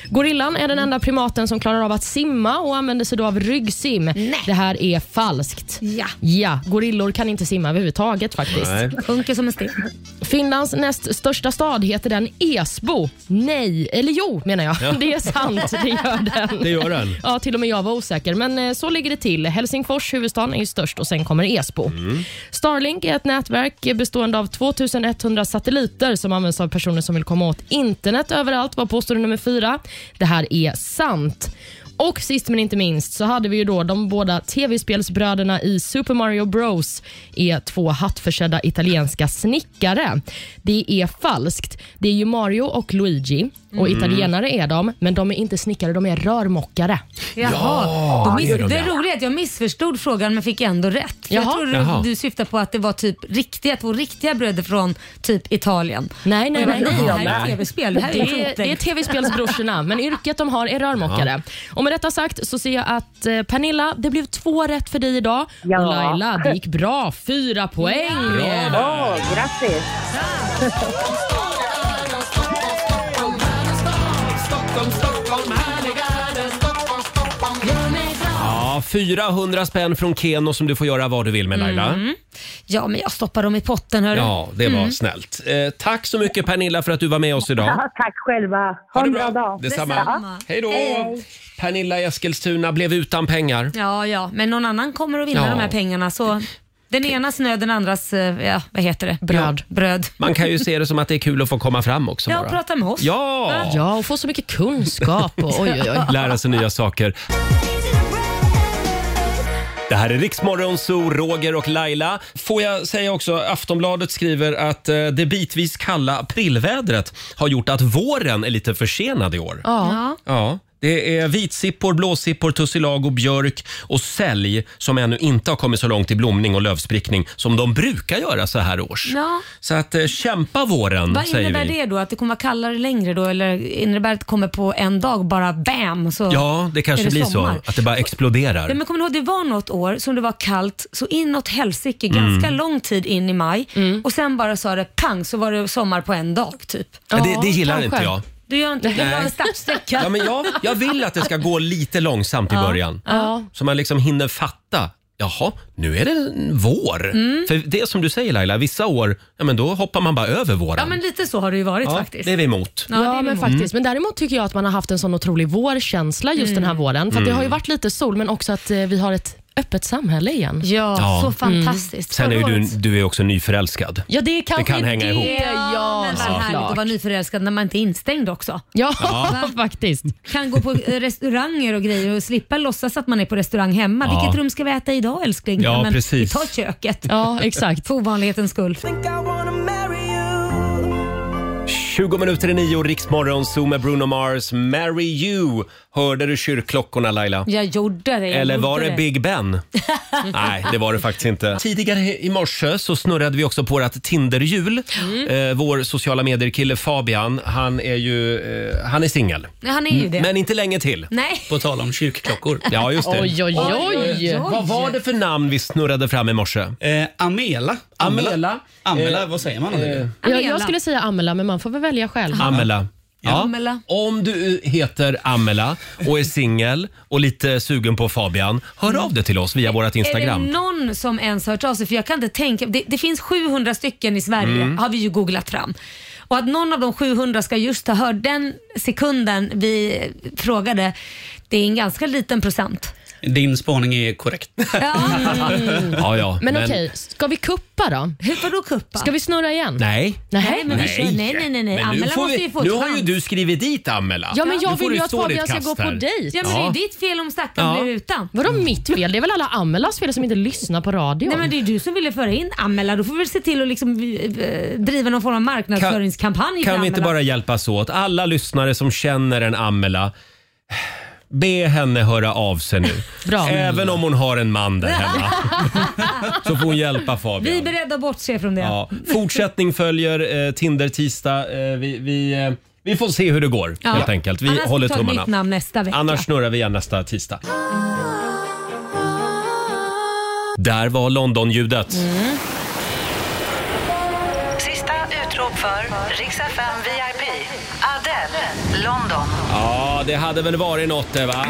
S5: Gorillan är den enda primaten som klarar av att simma och använder sig då av ryggsim. Det här är falskt.
S2: Ja.
S5: Ja, gorillor kan inte simma överhuvudtaget faktiskt.
S2: Sjunker som en sten.
S5: Finlands näst största stad heter den Esbo. Nej, eller jo menar jag. Det är sant, det gör den.
S1: Det gör den.
S5: Ja, till och med jag var osäker. Men eh, så ligger det till. Helsingfors, huvudstaden, är ju störst och sen kommer Esbo. Starlink är ett nätverk bestående av 2100 satelliter som används av personer som vill komma åt internet överallt, var påstående nummer fyra. Det här är sant. Och sist men inte minst så hade vi ju då de båda tv-spelsbröderna i Super Mario Bros är två hattförsedda italienska snickare. Det är falskt. Det är ju Mario och Luigi och italienare är de, men de är inte snickare, de är rörmokare.
S2: Jaha.
S1: Ja,
S2: Då miss-
S1: det gör de
S2: det
S1: ja.
S2: roliga är att jag missförstod frågan men fick ändå rätt. För jag
S5: Jaha.
S2: tror
S1: Jaha.
S2: du, du syftar på att det var typ riktiga, två riktiga bröder från typ Italien.
S5: Nej, nej,
S2: Och jag bara,
S5: nej, nej.
S2: Det här är tv-spel, det här är ju
S5: Det är, det är tv-spelsbrorsorna, men yrket de har är rörmokare. Och med detta sagt så ser jag att eh, Pernilla, det blev två rätt för dig idag.
S4: Ja.
S5: Och Laila, det gick bra. Fyra poäng.
S4: Åh, grattis!
S1: Ja, 400 spänn från Keno som du får göra vad du vill med Laila.
S2: Ja, men jag stoppar dem i potten hörru.
S1: Ja, det var snällt. Eh, tack så mycket Pernilla för att du var med oss idag.
S4: Ja, tack själva. Ha, en bra dag.
S1: Detsamma. Hej då! Pernilla i Eskilstuna blev utan pengar.
S2: Ja, ja, men någon annan kommer att vinna
S1: Ja.
S2: de här pengarna. Så den enas nöd, den andras, eh, ja, vad heter det?
S5: Bröd.
S2: Bröd.
S1: Man kan ju se det som att det är kul att få komma fram också.
S2: Ja,
S1: bara.
S2: prata med oss.
S1: Ja!
S5: Ja, och få så mycket kunskap. Och, oj, oj, oj.
S1: Lära sig nya saker. Det här är Riksmorgon Zoo, Roger och Laila. Får jag säga också, Aftonbladet skriver att eh, det bitvis kalla aprilvädret har gjort att våren är lite försenad i år.
S5: Ja.
S1: Ja, det är vitsippor, blåsippor, tussilago, björk och sälj som ännu inte har kommit så långt i blomning och lövsprickning som de brukar göra så här års.
S2: Ja.
S1: Så att eh, kämpa våren,
S2: Vad
S1: säger
S2: innebär
S1: vi.
S2: det då? Att det kommer vara kallare längre då? Eller innebär det att det kommer på en dag bara bam? Så
S1: Ja, det kanske
S2: är
S1: blir
S2: sommar?
S1: så. Att det bara exploderar.
S2: Ja, men kommer ni ihåg, det var något år som det var kallt så inåt helsike,
S1: Mm.
S2: ganska lång tid in i maj.
S5: Mm.
S2: Och sen bara sa det pang så var det sommar på en dag typ.
S1: Ja, det, det gillar
S5: kanske.
S1: inte jag.
S2: Du gör inte, du
S1: Nej.
S2: la en startsträcka.
S1: Ja, men jag. Jag vill att det ska gå lite långsamt i början.
S5: Ja.
S1: Så man liksom hinner fatta. Jaha, nu är det en vår.
S2: Mm.
S1: För det är som du säger Laila, vissa år ja, men då hoppar man bara över våren.
S2: Ja men lite så har det ju varit
S1: Ja,
S2: faktiskt.
S1: det är vi emot.
S2: Ja, det är
S5: Ja,
S2: vi
S5: men
S2: emot.
S5: faktiskt. Men däremot tycker jag att man har haft en sån otrolig vårkänsla just den här våren. För att det har ju varit lite sol, men också att eh, vi har ett öppet samhälle igen.
S2: Ja,
S1: Ja.
S2: så
S5: Mm.
S2: fantastiskt.
S1: Sen är ju
S2: Förra
S1: du,
S2: året-
S1: du är också nyförälskad.
S5: Ja, det är kanske
S1: kan hänga
S5: det.
S1: ihop.
S5: Ja,
S2: men vad härligt
S5: såklart.
S2: att vara nyförälskad när man inte är instängd också.
S5: Ja, faktiskt.
S2: Kan gå på eh, restauranger och grejer och slippa låtsas att man är på restaurang hemma.
S1: Ja.
S2: Vilket rum ska vi äta idag älskling?
S1: Ja,
S2: men
S1: precis.
S2: Vi tar köket.
S5: Ja, exakt.
S2: För ovanlighetens skull.
S1: 20 minuter i nio, Riksmorgon, Zoom med Bruno Mars, Marry You. Hörde du kyrkklockorna Laila?
S2: Jag gjorde det. Jag
S1: Eller
S2: gjorde
S1: var det Big Ben? Nej, det var det faktiskt inte. Tidigare i morse så snurrade vi också på vårt Tinderhjul. Eh, vår sociala medier-kille Fabian, han är ju eh, han är singel.
S2: Nej, Han är ju det.
S1: Men inte länge till.
S2: Nej.
S7: På tal om kyrkklockor.
S1: Ja, just det.
S5: Oj, oj, oj.
S1: Vad var det för namn vi snurrade fram i morse?
S7: Eh, Amela.
S1: Amela.
S7: Amela, vad säger man om det?
S5: Jag,
S2: Amela.
S5: jag skulle säga Amela, men man får väl välja själv.
S1: Amela. Ja.
S2: Amela.
S1: Om du heter Amela och är singel och lite sugen på Fabian, hör av dig till oss via vårt
S2: Är
S1: Instagram.
S2: det någon som ens hört av sig? För jag kan inte tänka. Det, det finns 700 stycken i Sverige
S1: Mm.
S2: har vi ju googlat fram. Och att någon av de 700 ska just ha hört den sekunden vi frågade, det är en ganska liten procent.
S7: Din spaning är korrekt.
S2: Ja,
S1: Ja, ja.
S5: Men, okej, ska vi kuppa då?
S2: hur vadå kuppa?
S5: Ska vi snurra igen?
S1: Nej.
S2: Nej, men vi kör, nej, nej, nej. nej.
S1: Men nu,
S2: Amela
S1: får
S2: måste
S1: vi,
S2: ju få
S1: nu
S2: ett
S1: har ju
S2: chans.
S1: du skrivit dit Amela.
S5: Ja, men
S1: Nu
S5: jag
S1: får
S5: vill
S1: du
S5: ju att
S1: stå ditt
S5: Fabian ska
S1: kast
S5: gå på
S1: här.
S5: dejt.
S2: Ja, men det är
S1: Ja.
S2: ju ditt fel om stackaren
S1: Ja.
S2: blir utan.
S5: Vadå mitt fel? Det är väl alla Amelas fel som inte lyssnar på radio?
S2: Nej men det är ju du som ville föra in Amela. Då får vi väl se till att liksom, eh, driva någon form av marknadsföringskampanj för
S1: Kan vi inte
S2: Amela.
S1: bara hjälpas åt? Alla lyssnare som känner en Amela, be henne höra av sig nu.
S5: Bra.
S1: Även om hon har en man där hemma. Så får hon hjälpa Fabian.
S2: Vi är beredda att bortse från det.
S1: Ja. Fortsättning följer eh, Tinder tisdag. Eh, vi, vi, eh, vi får se hur det går
S2: Ja.
S1: helt enkelt. Vi
S2: Annars
S1: håller
S2: tar vi
S1: tummarna.
S2: mitt namn nästa vecka.
S1: Annars snurrar vi igen nästa tisdag. Där var London-ljudet.
S2: Mm.
S8: Sista utrop för Rix FM VIP. Adele, London.
S1: Ja, det hade väl varit något det va?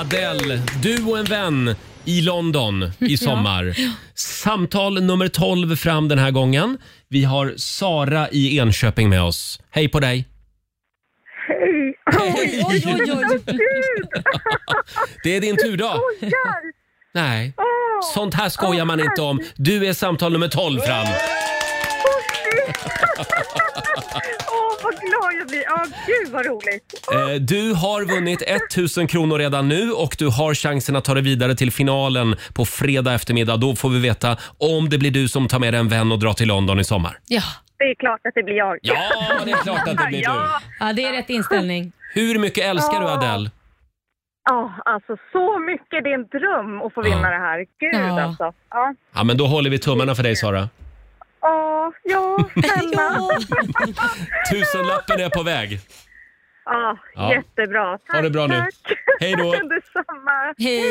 S1: Adele, du och en vän i London i sommar. Samtal nummer 12 fram den här gången. Vi har Sara i Enköping med oss. Hej på dig!
S4: Hej!
S2: Oj, oj, oj, oj.
S1: Det är din tur då. Nej, sånt här skojar man inte om. Du är samtal nummer 12 fram.
S4: Åh, vad glad Ja, jag blir... Ja, gud vad roligt.
S1: Eh, Du har vunnit 1000 kronor redan nu och du har chansen att ta dig vidare till finalen på fredag eftermiddag. Då får vi veta om det blir du som tar med dig en vän och drar till London i sommar.
S5: Ja.
S4: Det är klart att det blir jag.
S1: Ja, det är klart att det blir du.
S4: Ja,
S2: Ja, det är rätt inställning.
S1: Hur mycket älskar du Adele?
S4: ja, alltså så mycket. Det är en dröm att få vinna det här. Gud
S2: Ja.
S4: alltså. Ja,
S1: Ja, men då håller vi tummarna för dig Sara.
S4: ja, ja snälla.
S1: Tusenlappen är på väg.
S4: Ja,
S1: Ja.
S4: jättebra. Tack,
S1: Ha det bra nu.
S4: Tack.
S1: Hej då.
S4: Detsamma.
S2: Hej.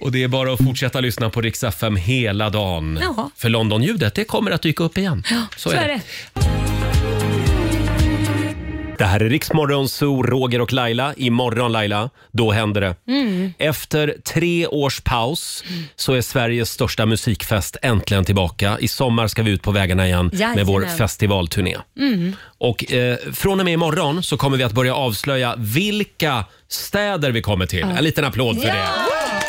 S1: Och det är bara att fortsätta lyssna på Rix FM hela dagen.
S2: Ja.
S1: För Londonljudet, det kommer att dyka upp igen.
S2: Så är det.
S1: Det här är Riksmorgon Zoo, Roger och Laila. Imorgon Laila, då händer det. Efter tre års paus så är Sveriges största musikfest äntligen tillbaka. I sommar ska vi ut på vägarna igen med
S2: Jajamän.
S1: vår festivalturné. Och eh, från och med imorgon så kommer vi att börja avslöja vilka städer vi kommer till. En liten applåd för det.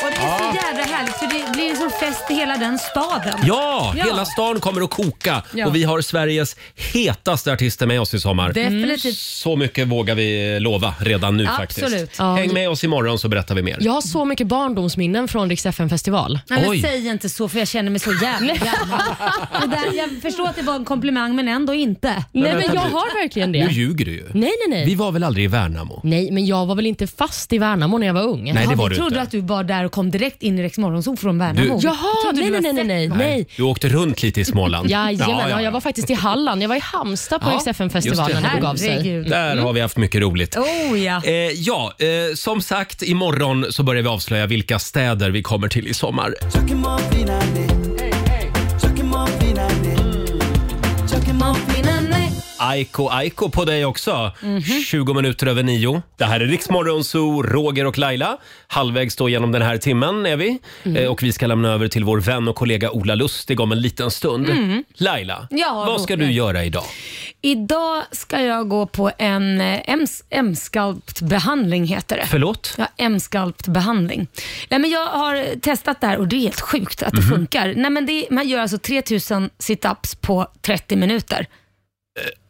S2: Och det är så jävla härligt för det blir som fest i hela den staden.
S1: Ja,
S2: Ja.
S1: hela stan kommer att koka
S5: Ja.
S1: och vi har Sveriges hetaste artister med oss i sommar.
S2: Definitivt.
S1: Så mycket vågar vi lova redan nu
S2: Absolut.
S1: faktiskt.
S5: Ja.
S1: Häng med oss imorgon så berättar vi mer.
S5: Jag har så mycket barndomsminnen från Rix festival
S2: Nej, men
S1: Oj.
S2: säg inte så för jag känner mig så jävla gammal. Det där, jag förstår att det var en komplimang men ändå inte.
S5: Nej, men
S1: vänta
S5: jag
S1: nu.
S5: har verkligen det.
S1: Nu
S5: Nej,
S1: ljuger du ju.
S5: nej, nej.
S1: Vi var väl aldrig i Värnamo?
S5: Nej, men jag var väl inte fast i Värnamo när jag var ung?
S1: Nej, det
S2: Ja,
S1: var
S2: vi
S1: du
S2: trodde
S1: inte.
S2: att du var där och kom direkt in i Rex Morgonzoo från Värnamo.
S1: Du-
S5: Jaha,
S2: Trodde
S5: nej,
S2: du var
S5: nej, nej, nej, nej, nej.
S1: Du åkte runt lite i Småland.
S5: Jajamän,
S1: Ja,
S5: ja,
S1: ja, ja.
S5: jag var faktiskt i Halland. Jag var i Halmstad på
S1: Ja,
S5: XFN-festivalen
S1: just det.
S5: när det gav sig.
S2: Herregud.
S1: Där har vi haft mycket roligt.
S2: Oh ja.
S1: Eh, ja, eh, som sagt, imorgon så börjar vi avslöja vilka städer vi kommer till i sommar. Aiko Aiko på dig också. 20 minuter över nio. Det här är Riksmorgon Zoo, Roger och Laila. Halvvägs då genom den här timmen är vi.
S2: Mm.
S1: Eh, Och vi ska lämna över till vår vän och kollega Ola Lustig om en liten stund. Laila,
S2: Mm. Ja,
S1: vad ska
S2: Roger.
S1: du göra idag?
S2: Idag ska jag gå på en eh, ems- M-skalpt-behandling heter det.
S1: Förlåt?
S2: Ja, M-skalpt-behandling. Nej, men jag har testat det här och det är helt sjukt att det
S1: Mhm.
S2: funkar. Nej, men det, man gör alltså 3000 situps på 30 minuter.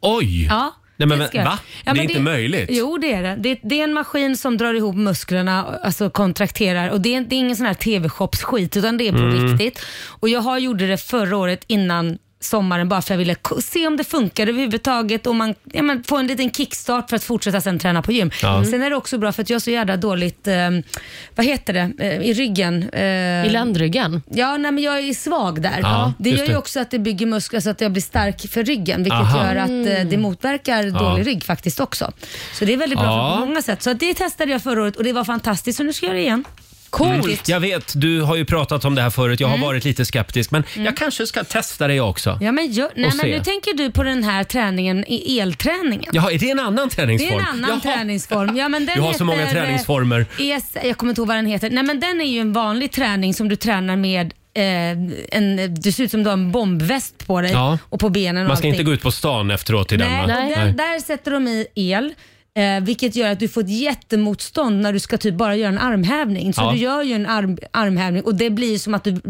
S1: Oj!
S2: Ja.
S1: Nej, men
S2: det ska
S1: va?
S2: jag.
S1: Det är inte möjligt.
S2: Jo, det är det. det. Det är en maskin som drar ihop musklerna, alltså kontrakterar. Och det är, det är ingen sån här TV-shopsskit, utan det är på
S1: Mm.
S2: riktigt. Och jag har gjorde det förra året innan sommaren bara för jag ville ko- se om det funkar överhuvudtaget och man ja, men får en liten kickstart för att fortsätta sen träna på gym.
S1: Ja.
S2: Sen är det också bra för att jag har så jävla dåligt, eh, vad heter det, eh, i ryggen. eh,
S5: I ländryggen.
S2: Ja, nej, men jag är svag där.
S1: Ja,
S2: det
S1: just
S2: gör ju
S1: det.
S2: också att det bygger muskler så att jag blir stark för ryggen, vilket
S1: Aha.
S2: gör att eh, det motverkar dålig rygg faktiskt också. Så det är väldigt bra
S1: Ja.
S2: på många sätt. Så det testade jag förra året och det var fantastiskt, så nu ska jag göra det igen.
S1: Coolt. Mm. Jag vet, du har ju pratat om det här förut. Jag har
S2: Mm.
S1: varit lite skeptisk, men jag kanske ska testa det jag också.
S2: Ja, men gör, nej,
S1: Och
S2: men
S1: se.
S2: nu tänker du på den här träningen, i elträningen.
S1: Jaha, är det en annan
S2: Det är
S1: träningsform?
S2: en annan
S1: Jaha.
S2: träningsform. Ja, men den
S1: Du har så
S2: heter,
S1: många träningsformer.
S2: eh, ES, jag kommer inte ihåg vad den heter. Nej, men den är ju en vanlig träning som du tränar med eh, en, du ser ut som du har en bombväst på dig
S1: Ja.
S2: och på benen och
S1: Man ska
S2: allting.
S1: inte gå ut på stan efteråt i den va?
S2: Nej, Där,
S5: Nej.
S2: där sätter de i el. Eh, vilket gör att du får ett jättemotstånd när du ska typ bara göra en armhävning. Så
S1: Ja.
S2: du gör ju en arm, armhävning och det blir som att du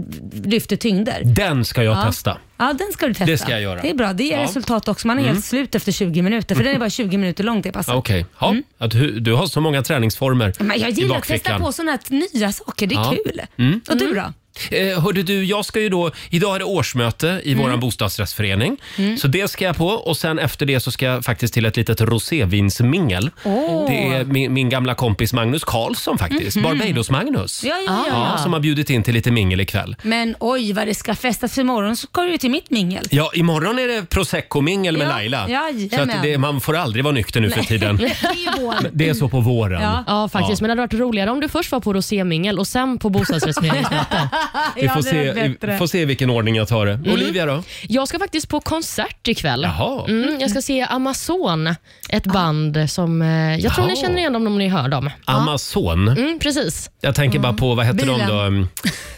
S2: lyfter tyngder.
S1: Den ska jag Mm. testa.
S2: Ja, den ska du testa.
S1: Det ska jag göra.
S2: Det är bra. Det ger
S1: Ja. Mm.
S2: resultat också. Man är helt slut efter 20 minuter, för den är bara 20 minuter lång det passet.
S1: Okej, ja, att du, du har så många träningsformer
S2: Mm. Men jag
S1: i
S2: gillar att testa
S1: bakfickan.
S2: på sådana här nya saker. Det är
S1: Ja. Mm.
S2: kul. Och du då?
S1: Eh, hörde du, jag ska ju då, idag är det årsmöte
S2: Mm.
S1: i vår bostadsrättsförening. Så det ska jag på och sen efter det så ska jag faktiskt till ett litet rosévinsmingel.
S2: Åh. Mhm.
S1: Det är min, min gamla kompis Magnus Karlsson faktiskt, Barbados-Magnus.
S2: Ja, ja, ja,
S1: Ja,
S2: ja.
S1: som har bjudit in till lite mingel ikväll.
S2: Men oj vad det ska festas. För imorgon så ska du ju till mitt mingel.
S1: Ja, imorgon är det prosecco-mingel med
S2: Ja,
S1: Laila. så
S2: jajamän.
S1: att det, man får aldrig vara nykter nu för tiden.
S2: Det är ju vår.
S1: Det är så på våren.
S2: Ja.
S5: Ja, faktiskt. Men det hade varit roligare om du först var på rosémingel och sen på bostadsrättsföreningsmöte.
S1: Vi får,
S2: Ja, det
S1: se,
S2: är bättre. Mm.
S1: vi får se i vilken ordning jag tar det. Olivia då?
S5: jag ska faktiskt på konsert ikväll.
S1: Jaha.
S5: Mm, jag ska se Amazon, ett band som eh, jag tror ni
S1: Jaha.
S5: känner igen dem om ni hör dem.
S1: Amazon.
S5: Mm, precis.
S1: Jag tänker
S5: Mm.
S1: bara på, vad hette de
S2: Bilen.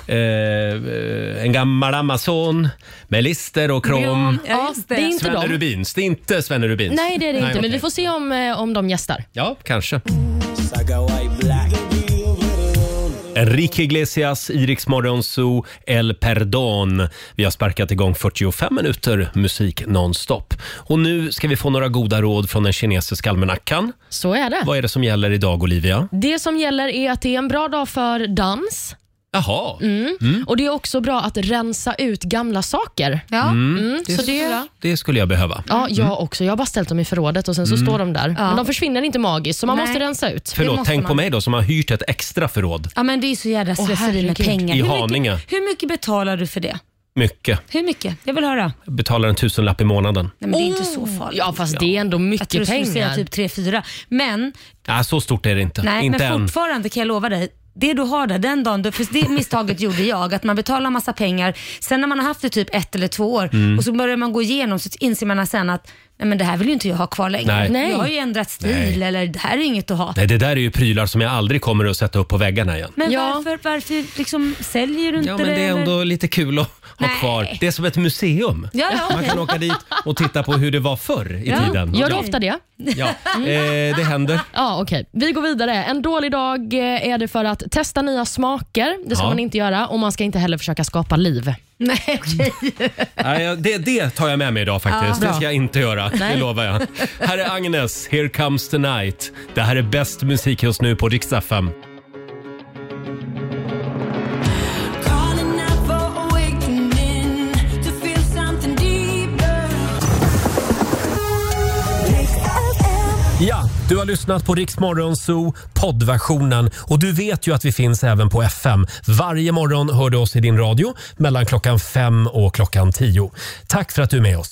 S1: då? Mm, eh, en gammal Amazon med lister och krom.
S2: Ja, just det.
S5: det är inte
S1: Svenne
S5: dem.
S1: Rubins. Det är inte Svenne Rubins.
S5: Nej, det är det inte, men
S1: okej.
S5: vi får se om, eh, om de gästar.
S1: Ja, kanske. Enrique Iglesias, Iriks Morgonzoo, El Perdón. Vi har sparkat igång 45 minuter musik nonstop. Och nu ska vi få några goda råd från den kinesiska almanackan.
S5: Så är det.
S1: Vad är det som gäller idag, Olivia?
S5: Det som gäller är att det är en bra dag för dans.
S1: Jaha.
S2: Mm.
S5: Och Det är också bra att rensa ut gamla saker.
S10: Ja.
S5: Mm, så det,
S1: Det skulle jag behöva.
S5: ja,
S2: Mm.
S5: jag också. Jag har bara ställt dem i förrådet och sen så står de där. Men de försvinner inte magiskt, så man
S10: Nej.
S5: måste rensa ut.
S1: Förlåt,
S10: måste
S1: tänk på
S10: man.
S1: mig då som har hyrt ett extra förråd.
S2: Ja men det är ju så jävla slöseri med
S5: herregud.
S2: pengar.
S1: I
S2: hur,
S1: Haninge.
S2: mycket, hur mycket betalar du för det?
S1: Mycket.
S2: Hur mycket? Jag vill höra.
S1: Jag betalar en tusenlapp i månaden.
S2: Nej men det är inte så farligt.
S5: Oh. Ja, fast det är ändå
S2: jag tror du
S5: mycket
S2: skulle säga
S5: pengar.
S2: typ 3-4. Men,
S1: Nej, så stort är det inte.
S2: nej,
S1: inte
S2: men
S1: än.
S2: fortfarande kan jag lova dig. Det du har där, den dagen, du- för det misstaget gjorde jag, att man betalar massa pengar. Sen när man har haft det typ ett eller två år
S1: Mm.
S2: och så börjar man gå igenom så inser man sen att nej men det här vill ju inte jag ha kvar längre.
S1: Nej.
S5: Nej.
S2: Jag har ju ändrat stil
S1: Nej.
S2: eller det här är inget att ha.
S1: Nej, det där är ju prylar som jag aldrig kommer att sätta upp på väggarna igen.
S2: Men
S5: Ja.
S2: varför, varför liksom säljer du inte
S1: Ja, men det är
S2: eller?
S1: ändå lite kul att ha
S2: Nej.
S1: kvar. Det är som ett museum.
S2: Ja, ja,
S1: Man
S2: okej.
S1: kan åka dit och titta på hur det var förr i tiden.
S5: Gör du
S1: Ja.
S5: ofta det?
S1: Ja, eh, det händer.
S5: Ja, okej. Vi går vidare. En dålig dag eh, är det för att testa nya smaker. Det ska
S1: Ja.
S5: man inte göra och man ska inte heller försöka skapa liv.
S2: Nej, okej.
S1: Nej, jag- det, det tar jag med mig idag faktiskt. det ska jag inte göra,
S5: Nej.
S1: det lovar jag. Här är Agnes, Here comes the night. Det här är bäst musik just nu på riksdag 5. Ja, du har lyssnat på Riksmorgon Zoo poddversionen och du vet ju att vi finns även på FM. Varje morgon hör du oss i din radio mellan klockan fem och klockan tio. Tack för att du är med oss.